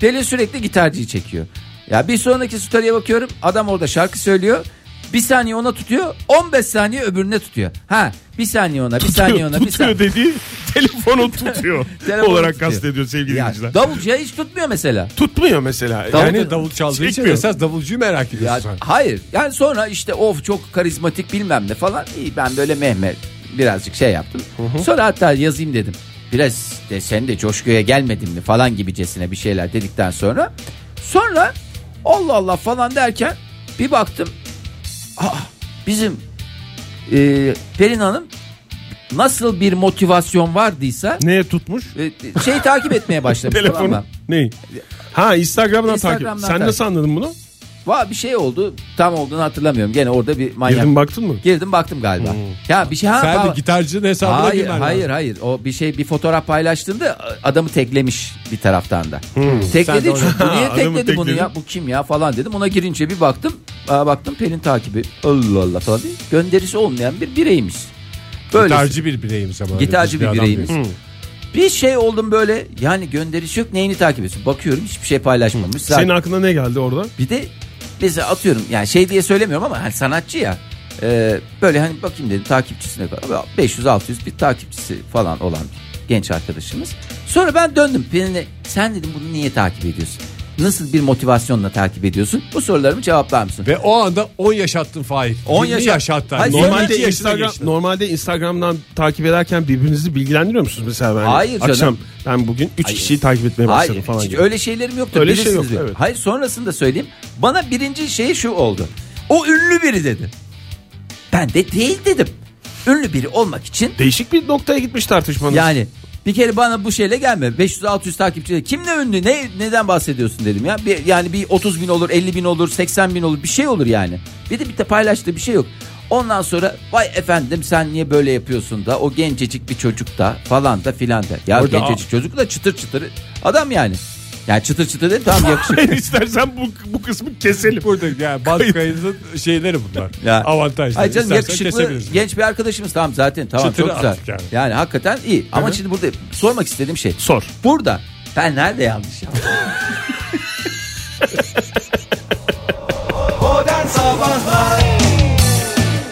Speaker 5: Deli sürekli gitarcıyı çekiyor. Ya bir sonraki story'e bakıyorum. Adam orada şarkı söylüyor. Bir saniye ona tutuyor. 15 saniye öbürüne tutuyor. Ha bir saniye ona bir saniye Hani ona bir
Speaker 4: tutuyor
Speaker 5: saniye.
Speaker 4: dediği telefonu tutuyor
Speaker 5: Telefonu
Speaker 4: olarak
Speaker 5: tutuyor.
Speaker 4: kastediyor sevgili
Speaker 5: Ya,
Speaker 4: dinleyiciler.
Speaker 5: davulcuya hiç tutmuyor mesela.
Speaker 4: Tutmuyor mesela.
Speaker 5: Davul-
Speaker 4: yani
Speaker 3: Yani davul çaldığı için
Speaker 4: Çekmiyor.
Speaker 3: esas davulcuyu merak
Speaker 5: Ya,
Speaker 3: ediyorsun sen.
Speaker 5: hayır yani sonra işte of çok karizmatik bilmem ne falan. İyi ben böyle Mehmet birazcık şey yaptım. Sonra hatta yazayım dedim. Biraz de sen de coşkuya gelmedin mi falan gibicesine bir şeyler dedikten sonra. Sonra Allah Allah falan derken bir baktım. Aa, bizim e, Pelin Hanım nasıl bir motivasyon vardıysa
Speaker 4: neye tutmuş?
Speaker 5: e, şey takip etmeye başlamış tamam
Speaker 4: Telefonu.
Speaker 5: mı?
Speaker 4: Neyi? Ha Instagram'dan,
Speaker 5: Instagram'dan
Speaker 4: takip. Sen
Speaker 5: takip.
Speaker 4: nasıl anladın bunu?
Speaker 5: Va bir şey oldu tam olduğunu hatırlamıyorum. Gene orada bir manyak.
Speaker 4: Girdin baktın mı?
Speaker 5: Girdim baktım galiba. Ya bir şey ha,
Speaker 3: Hmm. Sen de
Speaker 5: ha-
Speaker 3: gitarcının hesabına
Speaker 5: Hayır
Speaker 3: girmen
Speaker 5: hayır
Speaker 3: lazım.
Speaker 5: hayır. O bir şey bir fotoğraf paylaştığında adamı teklemiş bir taraftan da.
Speaker 3: Hmm. Sen de
Speaker 5: Tekledi.
Speaker 3: onu-
Speaker 5: çünkü, Bu niye
Speaker 4: Adamı
Speaker 5: tekledi bunu
Speaker 4: tekledin.
Speaker 5: ya? Bu kim ya falan dedim. Ona girince bir baktım. Aa, baktım Pelin takibi. Allah Allah falan. diye. Gönderisi olmayan bir bireymiş. Böyle
Speaker 3: Gitarcı bir bireyim zamanında.
Speaker 5: Gitarcı
Speaker 3: Biz
Speaker 5: bir
Speaker 3: adam
Speaker 5: bireyimiz.
Speaker 3: değiliz.
Speaker 5: bir şey oldum böyle. Yani gönderisi yok. Neyini takip ediyorsun? Bakıyorum hiçbir şey paylaşmamış. Zaten-
Speaker 4: Senin aklına ne geldi orada?
Speaker 5: bir de mesela atıyorum yani şey diye söylemiyorum ama hani sanatçı ya. e, böyle hani bakayım dedim takipçisine kadar. 500-600 bir takipçisi falan olan bir genç arkadaşımız. Sonra ben döndüm. Pelin'e sen dedim bunu niye takip ediyorsun? Nasıl bir motivasyonla takip ediyorsun? Bu sorularımı cevaplar mısın?
Speaker 3: Ve o anda 10 yaşattın Fahir.
Speaker 5: 10
Speaker 3: 20
Speaker 5: yaşa-
Speaker 3: yaşattın.
Speaker 5: Hayır,
Speaker 3: Normalde
Speaker 4: Normalde
Speaker 5: iki
Speaker 4: Instagram
Speaker 3: Instagram...
Speaker 4: normalde Instagram'dan takip ederken birbirinizi bilgilendiriyor musunuz mesela ben?
Speaker 5: Hayır canım.
Speaker 4: Akşam ben bugün 3
Speaker 5: Hayır.
Speaker 4: kişiyi takip etmeye başladım
Speaker 5: Hayır,
Speaker 4: falan.
Speaker 5: hiç
Speaker 4: gibi.
Speaker 5: öyle şeylerim yoktu.
Speaker 4: Öyle şey
Speaker 5: bilirsiniz
Speaker 4: yok,
Speaker 5: beni.
Speaker 4: evet.
Speaker 5: Hayır sonrasında söyleyeyim. Bana birinci şey şu oldu. O ünlü biri dedi. Ben de değil dedim. Ünlü biri olmak için
Speaker 4: Değişik bir noktaya gitmiş tartışmanız.
Speaker 5: Yani Bir kere bana bu şeyle gelme. 500-600 takipçiyle. Kimle ünlü? Ne, neden bahsediyorsun dedim ya. Bir, yani bir 30 bin olur, 50 bin olur, 80 bin olur. Bir şey olur yani. Bir de bir de paylaştığı bir şey yok. Ondan sonra vay efendim sen niye böyle yapıyorsun da o gencecik bir çocuk da falan da filan da. Ya
Speaker 3: Orada-
Speaker 5: gencecik çocuk da çıtır çıtır adam yani. Yani çıtır çıtır değil tamam yakışıklı.
Speaker 4: İstersen bu, bu kısmı keselim.
Speaker 3: Burada yani bant kaydının şeyleri bunlar.
Speaker 5: Ya.
Speaker 3: Avantajları.
Speaker 5: Hayır canım
Speaker 3: İstersen
Speaker 5: yakışıklı
Speaker 3: kesebilirsin.
Speaker 5: genç bir arkadaşımız tamam zaten tamam
Speaker 3: Çıtırı
Speaker 5: çok güzel.
Speaker 3: attık yani.
Speaker 5: Yani. hakikaten iyi ama şimdi burada sormak istediğim şey.
Speaker 4: Sor.
Speaker 5: Burada ben nerede yanlış yaptım?
Speaker 2: Modern Sabahlar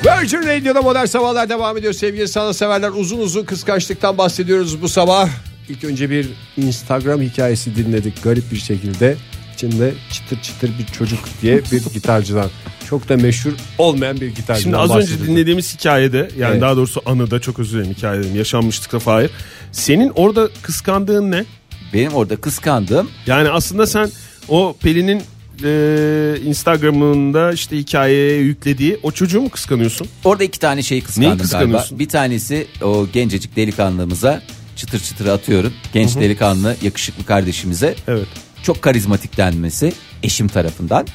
Speaker 3: Virgin Radio'da modern sabahlar devam ediyor sevgili sanatseverler. Uzun uzun kıskançlıktan bahsediyoruz bu sabah. İlk önce bir Instagram hikayesi dinledik garip bir şekilde. İçinde çıtır çıtır bir çocuk diye bir gitarcıdan. Çok da meşhur olmayan bir gitarcıdan
Speaker 4: Şimdi az önce
Speaker 3: bahsedildi.
Speaker 4: dinlediğimiz hikayede yani
Speaker 3: Evet.
Speaker 4: daha doğrusu anıda çok özür dilerim hikayede yaşanmışlıkla Fahir. Senin orada kıskandığın ne?
Speaker 5: Benim orada kıskandığım
Speaker 4: Yani aslında sen o Pelin'in e, Instagram'ında işte hikayeye yüklediği o çocuğu mu kıskanıyorsun?
Speaker 5: orada iki tane şeyi kıskandım
Speaker 4: Neyi kıskanıyorsun?
Speaker 5: galiba. Bir tanesi o gencecik delikanlımıza çıtır çıtır atıyorum. Genç delikanlı yakışıklı kardeşimize
Speaker 4: Evet.
Speaker 5: çok karizmatik denmesi eşim tarafından.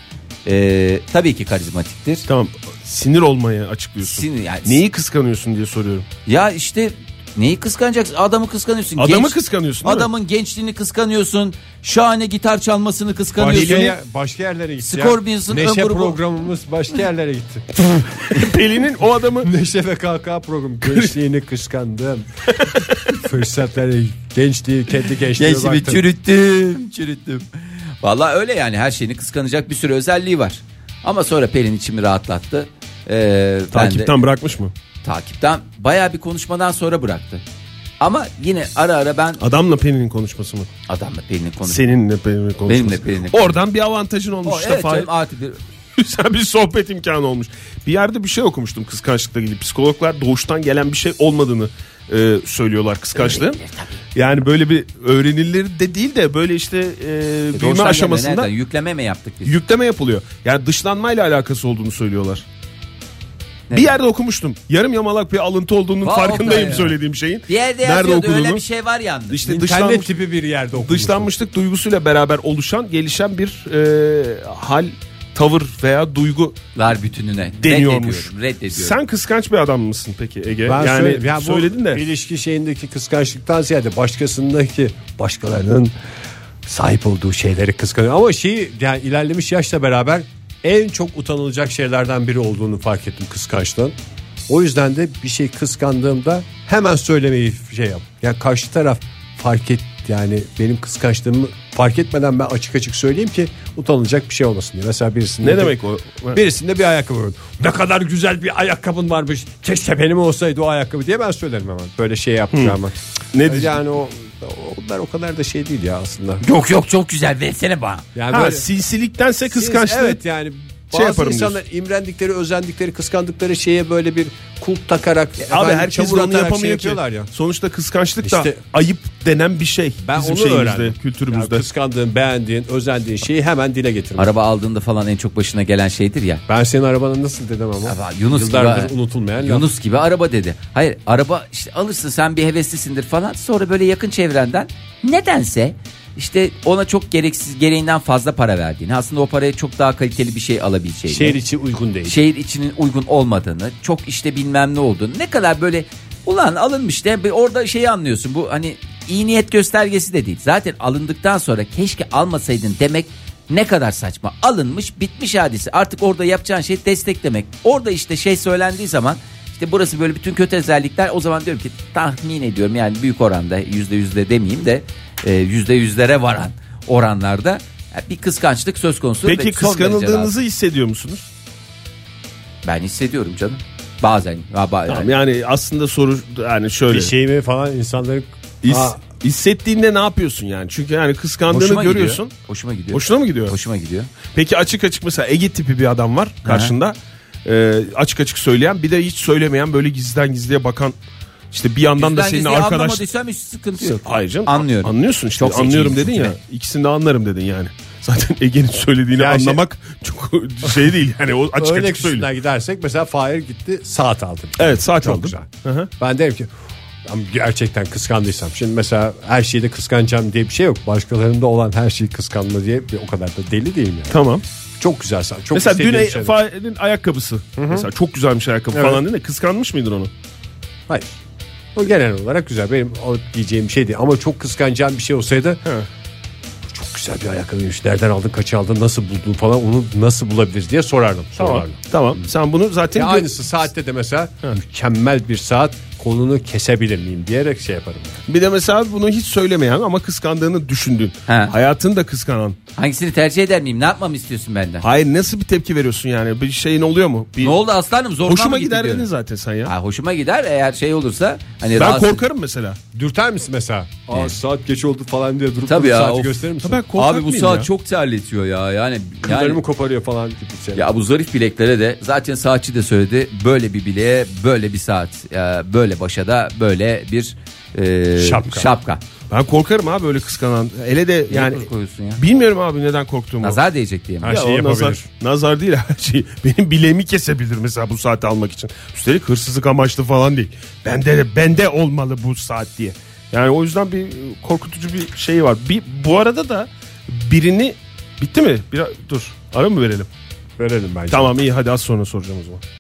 Speaker 5: Ee, tabii ki karizmatiktir.
Speaker 4: Tamam sinir olmaya açıklıyorsun.
Speaker 5: Sinir yani-
Speaker 4: Neyi kıskanıyorsun diye soruyorum.
Speaker 5: Ya işte neyi kıskanacaksın? Adamı kıskanıyorsun.
Speaker 4: Adamı
Speaker 5: Genç-
Speaker 4: kıskanıyorsun değil mi?
Speaker 5: Adamın gençliğini kıskanıyorsun. Şahane gitar çalmasını kıskanıyorsun.
Speaker 3: Başka, yer- başka yerlere gitti. ya.
Speaker 5: Scorpions'ın ön
Speaker 3: Neşe
Speaker 5: grubu-
Speaker 3: programımız başka yerlere gitti.
Speaker 4: Pelin'in o adamı
Speaker 3: Neşe ve Kahkaha programı. Gençliğini kıskandım. Fırsatları, gençliği, kendi gençliğe
Speaker 5: Gençliğimi
Speaker 3: baktım.
Speaker 5: çürüttüm, çürüttüm. Vallahi öyle yani her şeyini kıskanacak bir sürü özelliği var. Ama sonra Pelin içimi rahatlattı. Ee,
Speaker 4: takipten
Speaker 5: ben de,
Speaker 4: bırakmış mı?
Speaker 5: takipten bayağı bir konuşmadan sonra bıraktı. Ama yine ara ara ben
Speaker 4: Adamla Pelin'in konuşması mı?
Speaker 5: adamla Pelin'in konuşması.
Speaker 4: Seninle Pelin'in konuşması.
Speaker 5: Benimle Pelin'in
Speaker 4: Oradan bir avantajın olmuş
Speaker 5: O,
Speaker 4: işte
Speaker 5: evet,
Speaker 4: Fahir.
Speaker 5: canım, artı bir-
Speaker 4: Güzel bir sohbet imkanı olmuş. Bir yerde bir şey okumuştum kıskançlıkla ilgili. Psikologlar doğuştan gelen bir şey olmadığını e, söylüyorlar kıskançlığın. Yani böyle bir öğrenilir de değil de böyle işte e,
Speaker 5: Doğuştan
Speaker 4: büyüme
Speaker 5: gelme,
Speaker 4: aşamasında
Speaker 5: nereden? Yükleme mi yaptık biz?
Speaker 4: yükleme yapılıyor. Yani dışlanmayla alakası olduğunu söylüyorlar.
Speaker 5: Ne?
Speaker 4: Bir yerde okumuştum. Yarım yamalak bir alıntı olduğunun
Speaker 5: Vay
Speaker 4: farkındayım
Speaker 5: be.
Speaker 4: söylediğim şeyin.
Speaker 5: Bir yerde
Speaker 4: Nerede
Speaker 5: yazıyordu öyle
Speaker 4: okuduğunu.
Speaker 5: bir şey var yalnız.
Speaker 4: İşte
Speaker 3: İnternet
Speaker 4: dışlanmış,
Speaker 3: tipi bir yerde okumuştum.
Speaker 4: dışlanmışlık duygusuyla beraber oluşan, gelişen bir e, hal, tavır veya duygu
Speaker 5: Lar bütününe.
Speaker 4: deniyormuş.
Speaker 5: Reddediyorum, reddediyorum.
Speaker 4: Sen kıskanç bir adam mısın peki Ege?
Speaker 3: Ben
Speaker 4: yani
Speaker 3: söyle- ya bu
Speaker 4: söyledin de.
Speaker 3: ilişki şeyindeki kıskançlıktan ziyade başkasındaki başkalarının sahip olduğu şeyleri kıskanıyor. Ama şeyi yani ilerlemiş yaşla beraber en çok utanılacak şeylerden biri olduğunu fark ettim kıskançlığın. O yüzden de bir şey kıskandığımda hemen söylemeyi şey yap. Yani karşı taraf fark et yani benim kıskançlığımı fark etmeden ben açık açık söyleyeyim ki utanılacak bir şey olmasın diye. Mesela birisinde
Speaker 4: Ne demek o?
Speaker 3: Birisinde bir ayakkabı var. Ne kadar güzel bir ayakkabın varmış. Keşke benim olsaydı o ayakkabı diye ben söylerim hemen. Böyle şey yapacağım ben.
Speaker 4: Ne diyeceksin?
Speaker 3: Yani o onlar o kadar da şey değil ya aslında.
Speaker 5: Yok yok çok güzel versene bana.
Speaker 3: Yani
Speaker 4: Ha,
Speaker 3: böyle-
Speaker 4: sinsiliktense kıskançlık.
Speaker 3: Evet yani
Speaker 4: Şey
Speaker 3: bazı
Speaker 4: yaparım
Speaker 3: insanlar imrendikleri, özendikleri, kıskandıkları şeye böyle bir kulp takarak
Speaker 4: Abi
Speaker 3: efendim,
Speaker 4: herkes
Speaker 3: çamur
Speaker 4: onu
Speaker 3: atarak şey
Speaker 4: yapamıyor ki.
Speaker 3: yapıyorlar ya.
Speaker 4: Sonuçta kıskançlık da
Speaker 3: İşte-
Speaker 4: ayıp denen bir şey.
Speaker 3: Ben
Speaker 4: bizim
Speaker 3: onu
Speaker 4: şeyimizde,
Speaker 3: öğrendim.
Speaker 4: kültürümüzde.
Speaker 3: Yani kıskandığın, beğendiğin, özendiğin şeyi hemen dile getirmek.
Speaker 5: Araba aldığında falan en çok başına gelen şeydir ya.
Speaker 3: ben senin arabanın nasıl dedim ama.
Speaker 5: Ama Yunus
Speaker 3: Yıllardır
Speaker 5: gibi,
Speaker 3: unutulmayan laf.
Speaker 5: Yunus gibi araba dedi. Hayır araba işte alırsın sen bir heveslisindir falan. Sonra böyle yakın çevrenden nedense işte ona çok gereksiz gereğinden fazla para verdiğini. Aslında o paraya çok daha kaliteli bir şey alabileceğini.
Speaker 3: Şehir içi uygun değil.
Speaker 5: şehir içinin uygun olmadığını, çok işte bilmem ne olduğunu, ne kadar böyle ulan alınmış de bir orada şeyi anlıyorsun. Bu hani iyi niyet göstergesi de değil. Zaten alındıktan sonra keşke almasaydın demek ne kadar saçma. Alınmış bitmiş hadisi. Artık orada yapacağın şey desteklemek. Orada işte şey söylendiği zaman işte burası böyle bütün kötü özellikler o zaman diyorum ki tahmin ediyorum yani büyük oranda yüzde yüzde demeyeyim de e, yüzde yüzlere varan oranlarda e, bir kıskançlık söz konusu. ve
Speaker 4: Peki
Speaker 5: son derece rahatsız.
Speaker 4: kıskanıldığınızı hissediyor musunuz?
Speaker 5: Ben hissediyorum canım. Bazen. Ha, ba-
Speaker 4: Tamam yani aslında soru yani şöyle.
Speaker 3: Bir şey mi falan insanların
Speaker 4: His-
Speaker 3: Aa,
Speaker 4: hissettiğinde ne yapıyorsun yani? Çünkü yani kıskandığını
Speaker 5: Hoşuma
Speaker 4: görüyorsun.
Speaker 5: Gidiyor. Hoşuma gidiyor.
Speaker 4: Hoşuna mı gidiyor?
Speaker 5: Hoşuma gidiyor.
Speaker 4: Peki açık açık mesela Ege tipi bir adam var karşında. Ee, açık açık söyleyen bir de hiç söylemeyen böyle gizliden gizliye bakan işte bir yandan da
Speaker 5: Bizden
Speaker 4: senin
Speaker 5: gizliyi
Speaker 4: arkadaş.
Speaker 5: anlamadıysam hiç sıkıntı yok.
Speaker 4: Hayır canım.
Speaker 5: Anlıyorum.
Speaker 4: Anlıyorsun işte.
Speaker 5: Çok
Speaker 4: anlıyorum
Speaker 5: zekiyim
Speaker 4: dedin
Speaker 5: çünkü
Speaker 4: ya. İkisini de anlarım dedin yani. Zaten Ege'nin söylediğini
Speaker 3: Ya işte-
Speaker 4: anlamak çok şey değil yani o açık
Speaker 3: örnek
Speaker 4: açık söylüyor.
Speaker 3: üstünden gidersek mesela Fahir gitti saat aldı.
Speaker 4: Evet saat
Speaker 3: Çok
Speaker 4: aldım.
Speaker 3: güzel. Ben derim ki Ama gerçekten kıskandıysam. Şimdi mesela her şeyi de kıskanacağım diye bir şey yok. Başkalarında olan her şeyi kıskanma diye bir- o kadar da deli değilim yani.
Speaker 4: Tamam.
Speaker 3: Çok güzelsen. Çok şey
Speaker 4: Mesela dün
Speaker 3: istediğin
Speaker 4: e-
Speaker 3: şeyler.
Speaker 4: Fahir'in ayakkabısı. Mesela çok güzelmiş ayakkabı
Speaker 3: Evet.
Speaker 4: falan dedin de kıskanmış mıydın onu?
Speaker 3: Hayır. O genel olarak güzel. Benim alıp giyeceğim bir şeydi. Ama çok kıskanacağım bir şey olsaydı
Speaker 4: He.
Speaker 3: çok güzel bir ayakkabıymış. Nereden aldın, kaça aldın, nasıl buldun falan onu nasıl bulabilir diye sorardım.
Speaker 4: Tamam.
Speaker 3: sorardım.
Speaker 4: Tamam. Sen bunu zaten
Speaker 3: Ya
Speaker 4: gö-
Speaker 3: aynısı saatte de mesela mükemmel bir saat kolunu kesebilir miyim diyerek şey yaparım.
Speaker 4: bir de mesela bunu hiç söylemeyen ama kıskandığını düşündüğün.
Speaker 5: He.
Speaker 4: Hayatını da kıskanan.
Speaker 5: Hangisini tercih eder miyim? Ne yapmamı istiyorsun benden?
Speaker 4: Hayır nasıl bir tepki veriyorsun yani? Bir şeyin oluyor mu? Bir...
Speaker 5: Ne oldu aslanım? Zoruna
Speaker 4: Hoşuma
Speaker 5: mı gitti
Speaker 4: gider
Speaker 5: diyorum.
Speaker 4: dedin zaten sen ya.
Speaker 5: Ha, hoşuma gider eğer şey olursa. Hani
Speaker 4: Ben
Speaker 5: rahatsız-
Speaker 4: korkarım mesela.
Speaker 3: Dürter misin mesela? Aa, saat geç oldu falan diye durup
Speaker 5: Tabii
Speaker 3: durup
Speaker 5: ya,
Speaker 3: saati
Speaker 5: of.
Speaker 3: gösterir misin?
Speaker 4: Ha, ben korkak
Speaker 5: Abi bu
Speaker 4: mıyım
Speaker 5: saat
Speaker 4: ya?
Speaker 5: çok terletiyor ya. Yani,
Speaker 3: Kıllarımı
Speaker 5: yani
Speaker 3: koparıyor falan gibi şey. şeyler.
Speaker 5: ya bu zarif bileklere de zaten saatçi de söyledi. Böyle bir bileğe böyle bir saat. Ya, böyle başa da böyle bir e,
Speaker 3: Şapka.
Speaker 4: Ben korkarım abi öyle kıskanan. Ele de yani
Speaker 5: Yani koyuyorsun ya.
Speaker 4: bilmiyorum abi neden korktuğumu.
Speaker 5: Nazar değecek diye mi?
Speaker 3: Her
Speaker 4: Ya
Speaker 3: şeyi
Speaker 4: o nazar,
Speaker 3: yapabilir.
Speaker 4: nazar değil her şey. Benim bileğimi kesebilir mesela bu saati almak için. Üstelik hırsızlık amaçlı falan değil. Bende de bende olmalı bu saat diye. Yani o yüzden bir korkutucu bir şey var. Bir, bu arada da birini bitti mi? Bir, dur ara mı verelim?
Speaker 3: Verelim bence.
Speaker 4: Tamam iyi hadi az sonra soracağım o zaman.